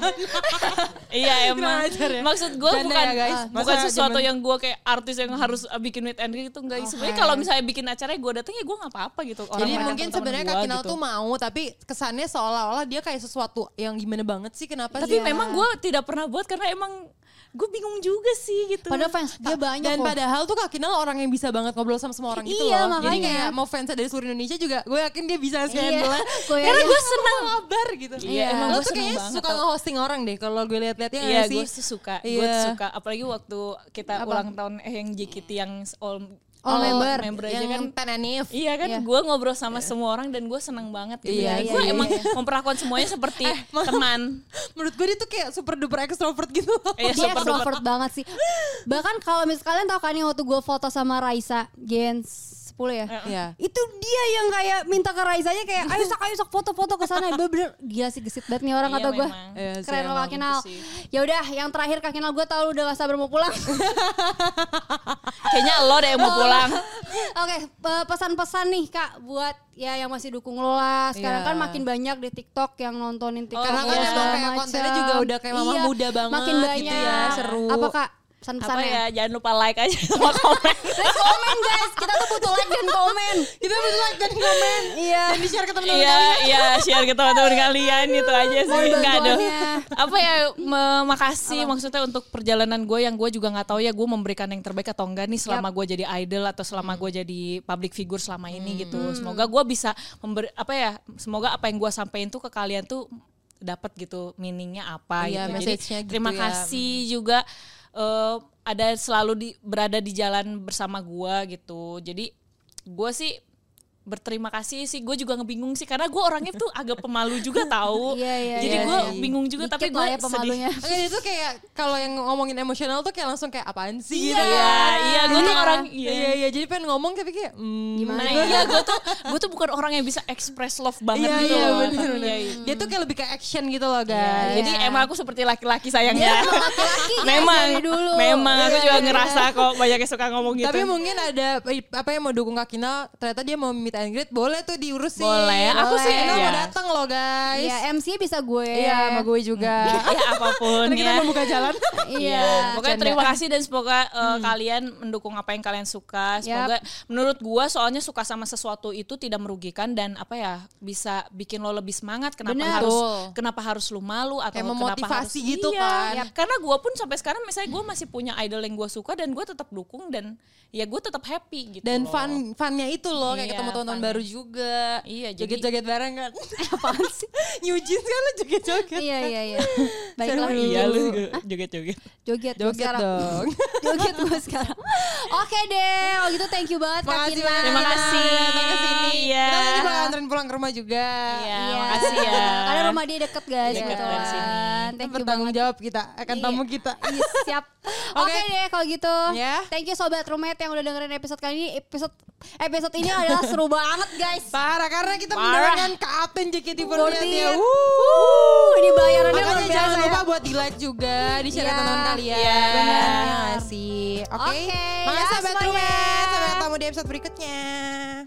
Speaker 4: iya emang.
Speaker 3: Kurang ajar ya.
Speaker 4: Maksud gue
Speaker 3: Bercanda
Speaker 4: bukan
Speaker 3: ya, guys.
Speaker 4: bukan
Speaker 3: Masa Hmm.
Speaker 4: sesuatu
Speaker 3: zaman-
Speaker 4: yang gue kayak artis yang harus eh, bikin meet and greet itu enggak. Sebenarnya kalau misalnya bikin acaranya gue datang ya gue nggak apa-apa gitu. Orang
Speaker 3: Oh, Jadi
Speaker 4: mereka
Speaker 3: mungkin
Speaker 4: teman-teman
Speaker 3: sebenarnya
Speaker 4: gua
Speaker 3: Kak Kinal
Speaker 4: gitu.
Speaker 3: tuh mau tapi kesannya seolah-olah dia kayak sesuatu yang gimana banget sih kenapa
Speaker 4: Tapi
Speaker 3: sih?
Speaker 4: memang gue tidak pernah buat karena emang gue bingung juga sih gitu.
Speaker 2: Padahal fans dia banyak
Speaker 3: Dan
Speaker 2: Iya. loh.
Speaker 3: padahal tuh Kak Kinal orang yang bisa banget ngobrol sama semua orang gitu
Speaker 2: Iya,
Speaker 3: loh. Jadi
Speaker 2: makanya.
Speaker 3: kayak mau fansnya dari seluruh Indonesia juga gue yakin dia bisa sih
Speaker 2: Iya,
Speaker 4: (laughs)
Speaker 3: handle
Speaker 2: (laughs) gue
Speaker 3: Karena
Speaker 2: yakin.
Speaker 3: gue seneng ngobar ya. gitu.
Speaker 4: Iya, emang
Speaker 3: Lo
Speaker 4: gue
Speaker 3: tuh
Speaker 4: seneng
Speaker 3: kayaknya
Speaker 4: banget
Speaker 3: suka
Speaker 4: tau.
Speaker 3: nge-hosting orang deh kalau gue lihat-lihatnya
Speaker 4: Iya
Speaker 3: nggak sih.
Speaker 4: gue suka, gue
Speaker 3: Iya.
Speaker 4: suka. Apalagi waktu kita ulang tahun eh, yang JKT yang all,
Speaker 2: All member.
Speaker 3: Oh,
Speaker 4: aja
Speaker 3: yang
Speaker 4: kan
Speaker 3: ten anif.
Speaker 4: Iya kan,
Speaker 2: Iya.
Speaker 4: gue ngobrol sama semua orang dan gue seneng banget. Gitu.
Speaker 3: Iya,
Speaker 4: Jadi
Speaker 3: iya,
Speaker 4: gue
Speaker 3: iya,
Speaker 4: emang
Speaker 3: iya. Eh,
Speaker 4: memperlakukan semuanya
Speaker 3: (laughs)
Speaker 4: seperti teman.
Speaker 3: Menurut gue dia tuh kayak super duper extrovert gitu. loh.
Speaker 4: Eh,
Speaker 2: dia
Speaker 4: super duper.
Speaker 2: extrovert banget sih. Bahkan kalau misalnya kalian tahu kan yang waktu gue foto sama Raisa Gens 10 ya.
Speaker 3: Iya.
Speaker 2: Itu dia yang kayak minta ke Raizanya kayak ayo sak ayo sak foto-foto ke sana. Bener, gila sih gesit banget nih orang
Speaker 4: Iya,
Speaker 2: kata gue.
Speaker 4: memang.
Speaker 3: Iya sih,
Speaker 2: Keren lo
Speaker 3: emang
Speaker 2: Kak Kinal.
Speaker 4: gitu sih.
Speaker 2: Ya udah, yang terakhir Kak Kinal gue tau lu udah gak sabar mau
Speaker 3: (laughs)
Speaker 2: pulang.
Speaker 4: Kayaknya lo deh yang mau pulang.
Speaker 2: (laughs) Oke, pe- pesan-pesan nih Kak buat ya yang masih dukung lo lah. Sekarang
Speaker 3: Iya.
Speaker 2: kan makin banyak di TikTok yang nontonin TikTok.
Speaker 3: Karena kan
Speaker 2: segala
Speaker 3: emang kayak
Speaker 2: macam.
Speaker 3: kontennya juga udah kayak mama muda banget
Speaker 2: makin
Speaker 3: gitu
Speaker 2: banyak.
Speaker 3: ya, seru.
Speaker 2: Apa Kak
Speaker 4: Apa
Speaker 2: pesan-pesannya?
Speaker 4: ya? Jangan lupa like aja sama komen.
Speaker 2: Guys, komen guys, kita tuh butuh like dan komen.
Speaker 3: Kita butuh like dan komen.
Speaker 2: Iya.
Speaker 3: Dan di share ke teman-teman
Speaker 4: Iya,
Speaker 3: kalian.
Speaker 4: iya, share ke teman-teman kalian gitu aja sih.
Speaker 2: Mohon
Speaker 4: Enggak ada.
Speaker 2: bantuannya.
Speaker 4: Apa ya? me- makasih maksudnya untuk perjalanan gue yang gue juga nggak tahu ya gue memberikan yang terbaik atau enggak nih selama gue jadi idol atau
Speaker 3: Hmm.
Speaker 4: selama gue jadi public figure selama ini gitu. Semoga gue bisa member apa ya? Semoga apa yang gue sampaikan tuh ke kalian tuh dapat gitu meaningnya
Speaker 3: Iya,
Speaker 4: apa gitu. Jadi
Speaker 3: message-nya gitu
Speaker 4: terima
Speaker 3: ya.
Speaker 4: kasih juga eh, ada selalu di berada di jalan bersama gue gitu. Jadi gue sih berterima kasih sih gue juga ngebingung sih karena gue orangnya tuh agak pemalu
Speaker 2: (laughs)
Speaker 4: juga tahu
Speaker 2: Iya, iya,
Speaker 4: jadi
Speaker 2: iya,
Speaker 4: gue
Speaker 2: iya.
Speaker 4: bingung juga tapi
Speaker 2: Dikit lah
Speaker 4: gue
Speaker 2: ya
Speaker 3: (laughs)
Speaker 2: pemalunya.
Speaker 4: sedih
Speaker 3: Enggak itu kayak kalau yang ngomongin emosional tuh kayak langsung kayak apaan sih gitu.
Speaker 4: iya iya gue tuh
Speaker 2: Iya.
Speaker 4: orang
Speaker 3: Iya iya iya jadi pengen ngomong tapi kayak hmm,
Speaker 2: Gimana? ya?
Speaker 4: Nah, iya gue tuh gue tuh bukan orang yang bisa express love banget
Speaker 3: Iya
Speaker 4: gitu
Speaker 3: iya
Speaker 4: loh.
Speaker 3: bener,
Speaker 4: Tapi
Speaker 3: bener.
Speaker 4: ya, iya.
Speaker 3: Dia tuh kayak lebih ke action gitu loh
Speaker 2: Iya,
Speaker 4: Ya,
Speaker 3: guys.
Speaker 4: Jadi emang aku seperti laki-laki
Speaker 2: (laughs)
Speaker 4: sayangnya.
Speaker 2: Emang laki-laki guys,
Speaker 4: memang,
Speaker 2: dari Iya. dulu.
Speaker 4: memang aku
Speaker 2: Iya,
Speaker 4: juga
Speaker 2: iya.
Speaker 4: ngerasa kok banyak yang suka ngomong gitu.
Speaker 3: Tapi mungkin ada eh, apa yang mau dukung Kak Kinal, ternyata dia mau meet and greet, boleh tuh diurusin.
Speaker 4: Boleh, aku
Speaker 2: sih,
Speaker 3: Kinal
Speaker 4: iya.
Speaker 3: mau datang loh guys.
Speaker 2: Iya, MC bisa gue.
Speaker 3: Iya, sama gue (laughs) juga.
Speaker 4: ya apapun
Speaker 3: Karena kita
Speaker 4: ya.
Speaker 3: membuka jalan.
Speaker 4: (laughs)
Speaker 3: Hmm.
Speaker 2: Iya.
Speaker 4: Pokoknya terima kasih dan semoga uh, kalian mendukung apa yang kalian suka. Semoga menurut gua soalnya suka sama sesuatu itu tidak merugikan dan apa ya bisa bikin lo lebih semangat. Kenapa
Speaker 2: Benar.
Speaker 4: harus
Speaker 3: Betul.
Speaker 4: kenapa harus lo malu
Speaker 3: Kayak
Speaker 4: atau kenapa harus
Speaker 3: memotivasi gitu kan.
Speaker 4: Iya. Karena gua pun sampai sekarang misalnya gua masih punya idol yang gua suka dan gua tetap dukung dan ya gua tetap happy gitu.
Speaker 3: Dan
Speaker 4: loh.
Speaker 3: fun funnya itu loh kayak
Speaker 4: Iya,
Speaker 3: ketemu teman-teman
Speaker 4: funnya.
Speaker 3: baru juga.
Speaker 4: Iya, jadi-
Speaker 3: joget-joget bareng kan. Apaan sih? New jeans kan lo joget-joget.
Speaker 2: Iya, iya,
Speaker 3: (laughs)
Speaker 2: iya.
Speaker 4: Oh,
Speaker 2: Baiklah.
Speaker 4: iya lu juga joget-joget.
Speaker 2: Joget, gue
Speaker 3: Joget
Speaker 2: sekarang.
Speaker 3: dong.
Speaker 2: Joget gue sekarang. (laughs) Oke deh, kalau gitu thank you banget Kak
Speaker 3: (laughs) Makasih
Speaker 2: Iya. Kinar.
Speaker 3: banyak.
Speaker 4: Terima kasih.
Speaker 3: Datang ke sini.
Speaker 4: Iya.
Speaker 3: Kita nanti bakal anterin pulang ke rumah juga.
Speaker 4: Iya, makasih ya.
Speaker 2: Karena rumah dia deket guys.
Speaker 4: Deket
Speaker 2: kebetulan.
Speaker 4: dari sini.
Speaker 2: Thank you
Speaker 3: Bertanggung
Speaker 2: banget.
Speaker 3: jawab kita akan tamu kita.
Speaker 2: Iya,
Speaker 3: (laughs)
Speaker 2: siap. Oke
Speaker 3: Oke.
Speaker 2: deh kalau gitu.
Speaker 3: Ya.
Speaker 2: Thank you sobat roommate yang udah dengerin episode kali ini. Episode episode ini adalah seru banget guys.
Speaker 3: Parah karena kita
Speaker 4: Parah.
Speaker 3: mendengarkan Kapten JKT48 ya.
Speaker 2: Fortieth.
Speaker 3: Wuh.
Speaker 2: Ini bayarannya luar
Speaker 3: Makanya jangan
Speaker 2: biasa ya.
Speaker 3: lupa buat di like juga, di share
Speaker 2: Iya,
Speaker 3: ke teman kalian.
Speaker 4: iya.
Speaker 3: Benar ya nggak sih. Oke.
Speaker 2: Oke,
Speaker 3: Makasih
Speaker 2: ya
Speaker 3: sahabat
Speaker 2: semuanya.
Speaker 3: Rumet. Sampai ketemu di episode berikutnya.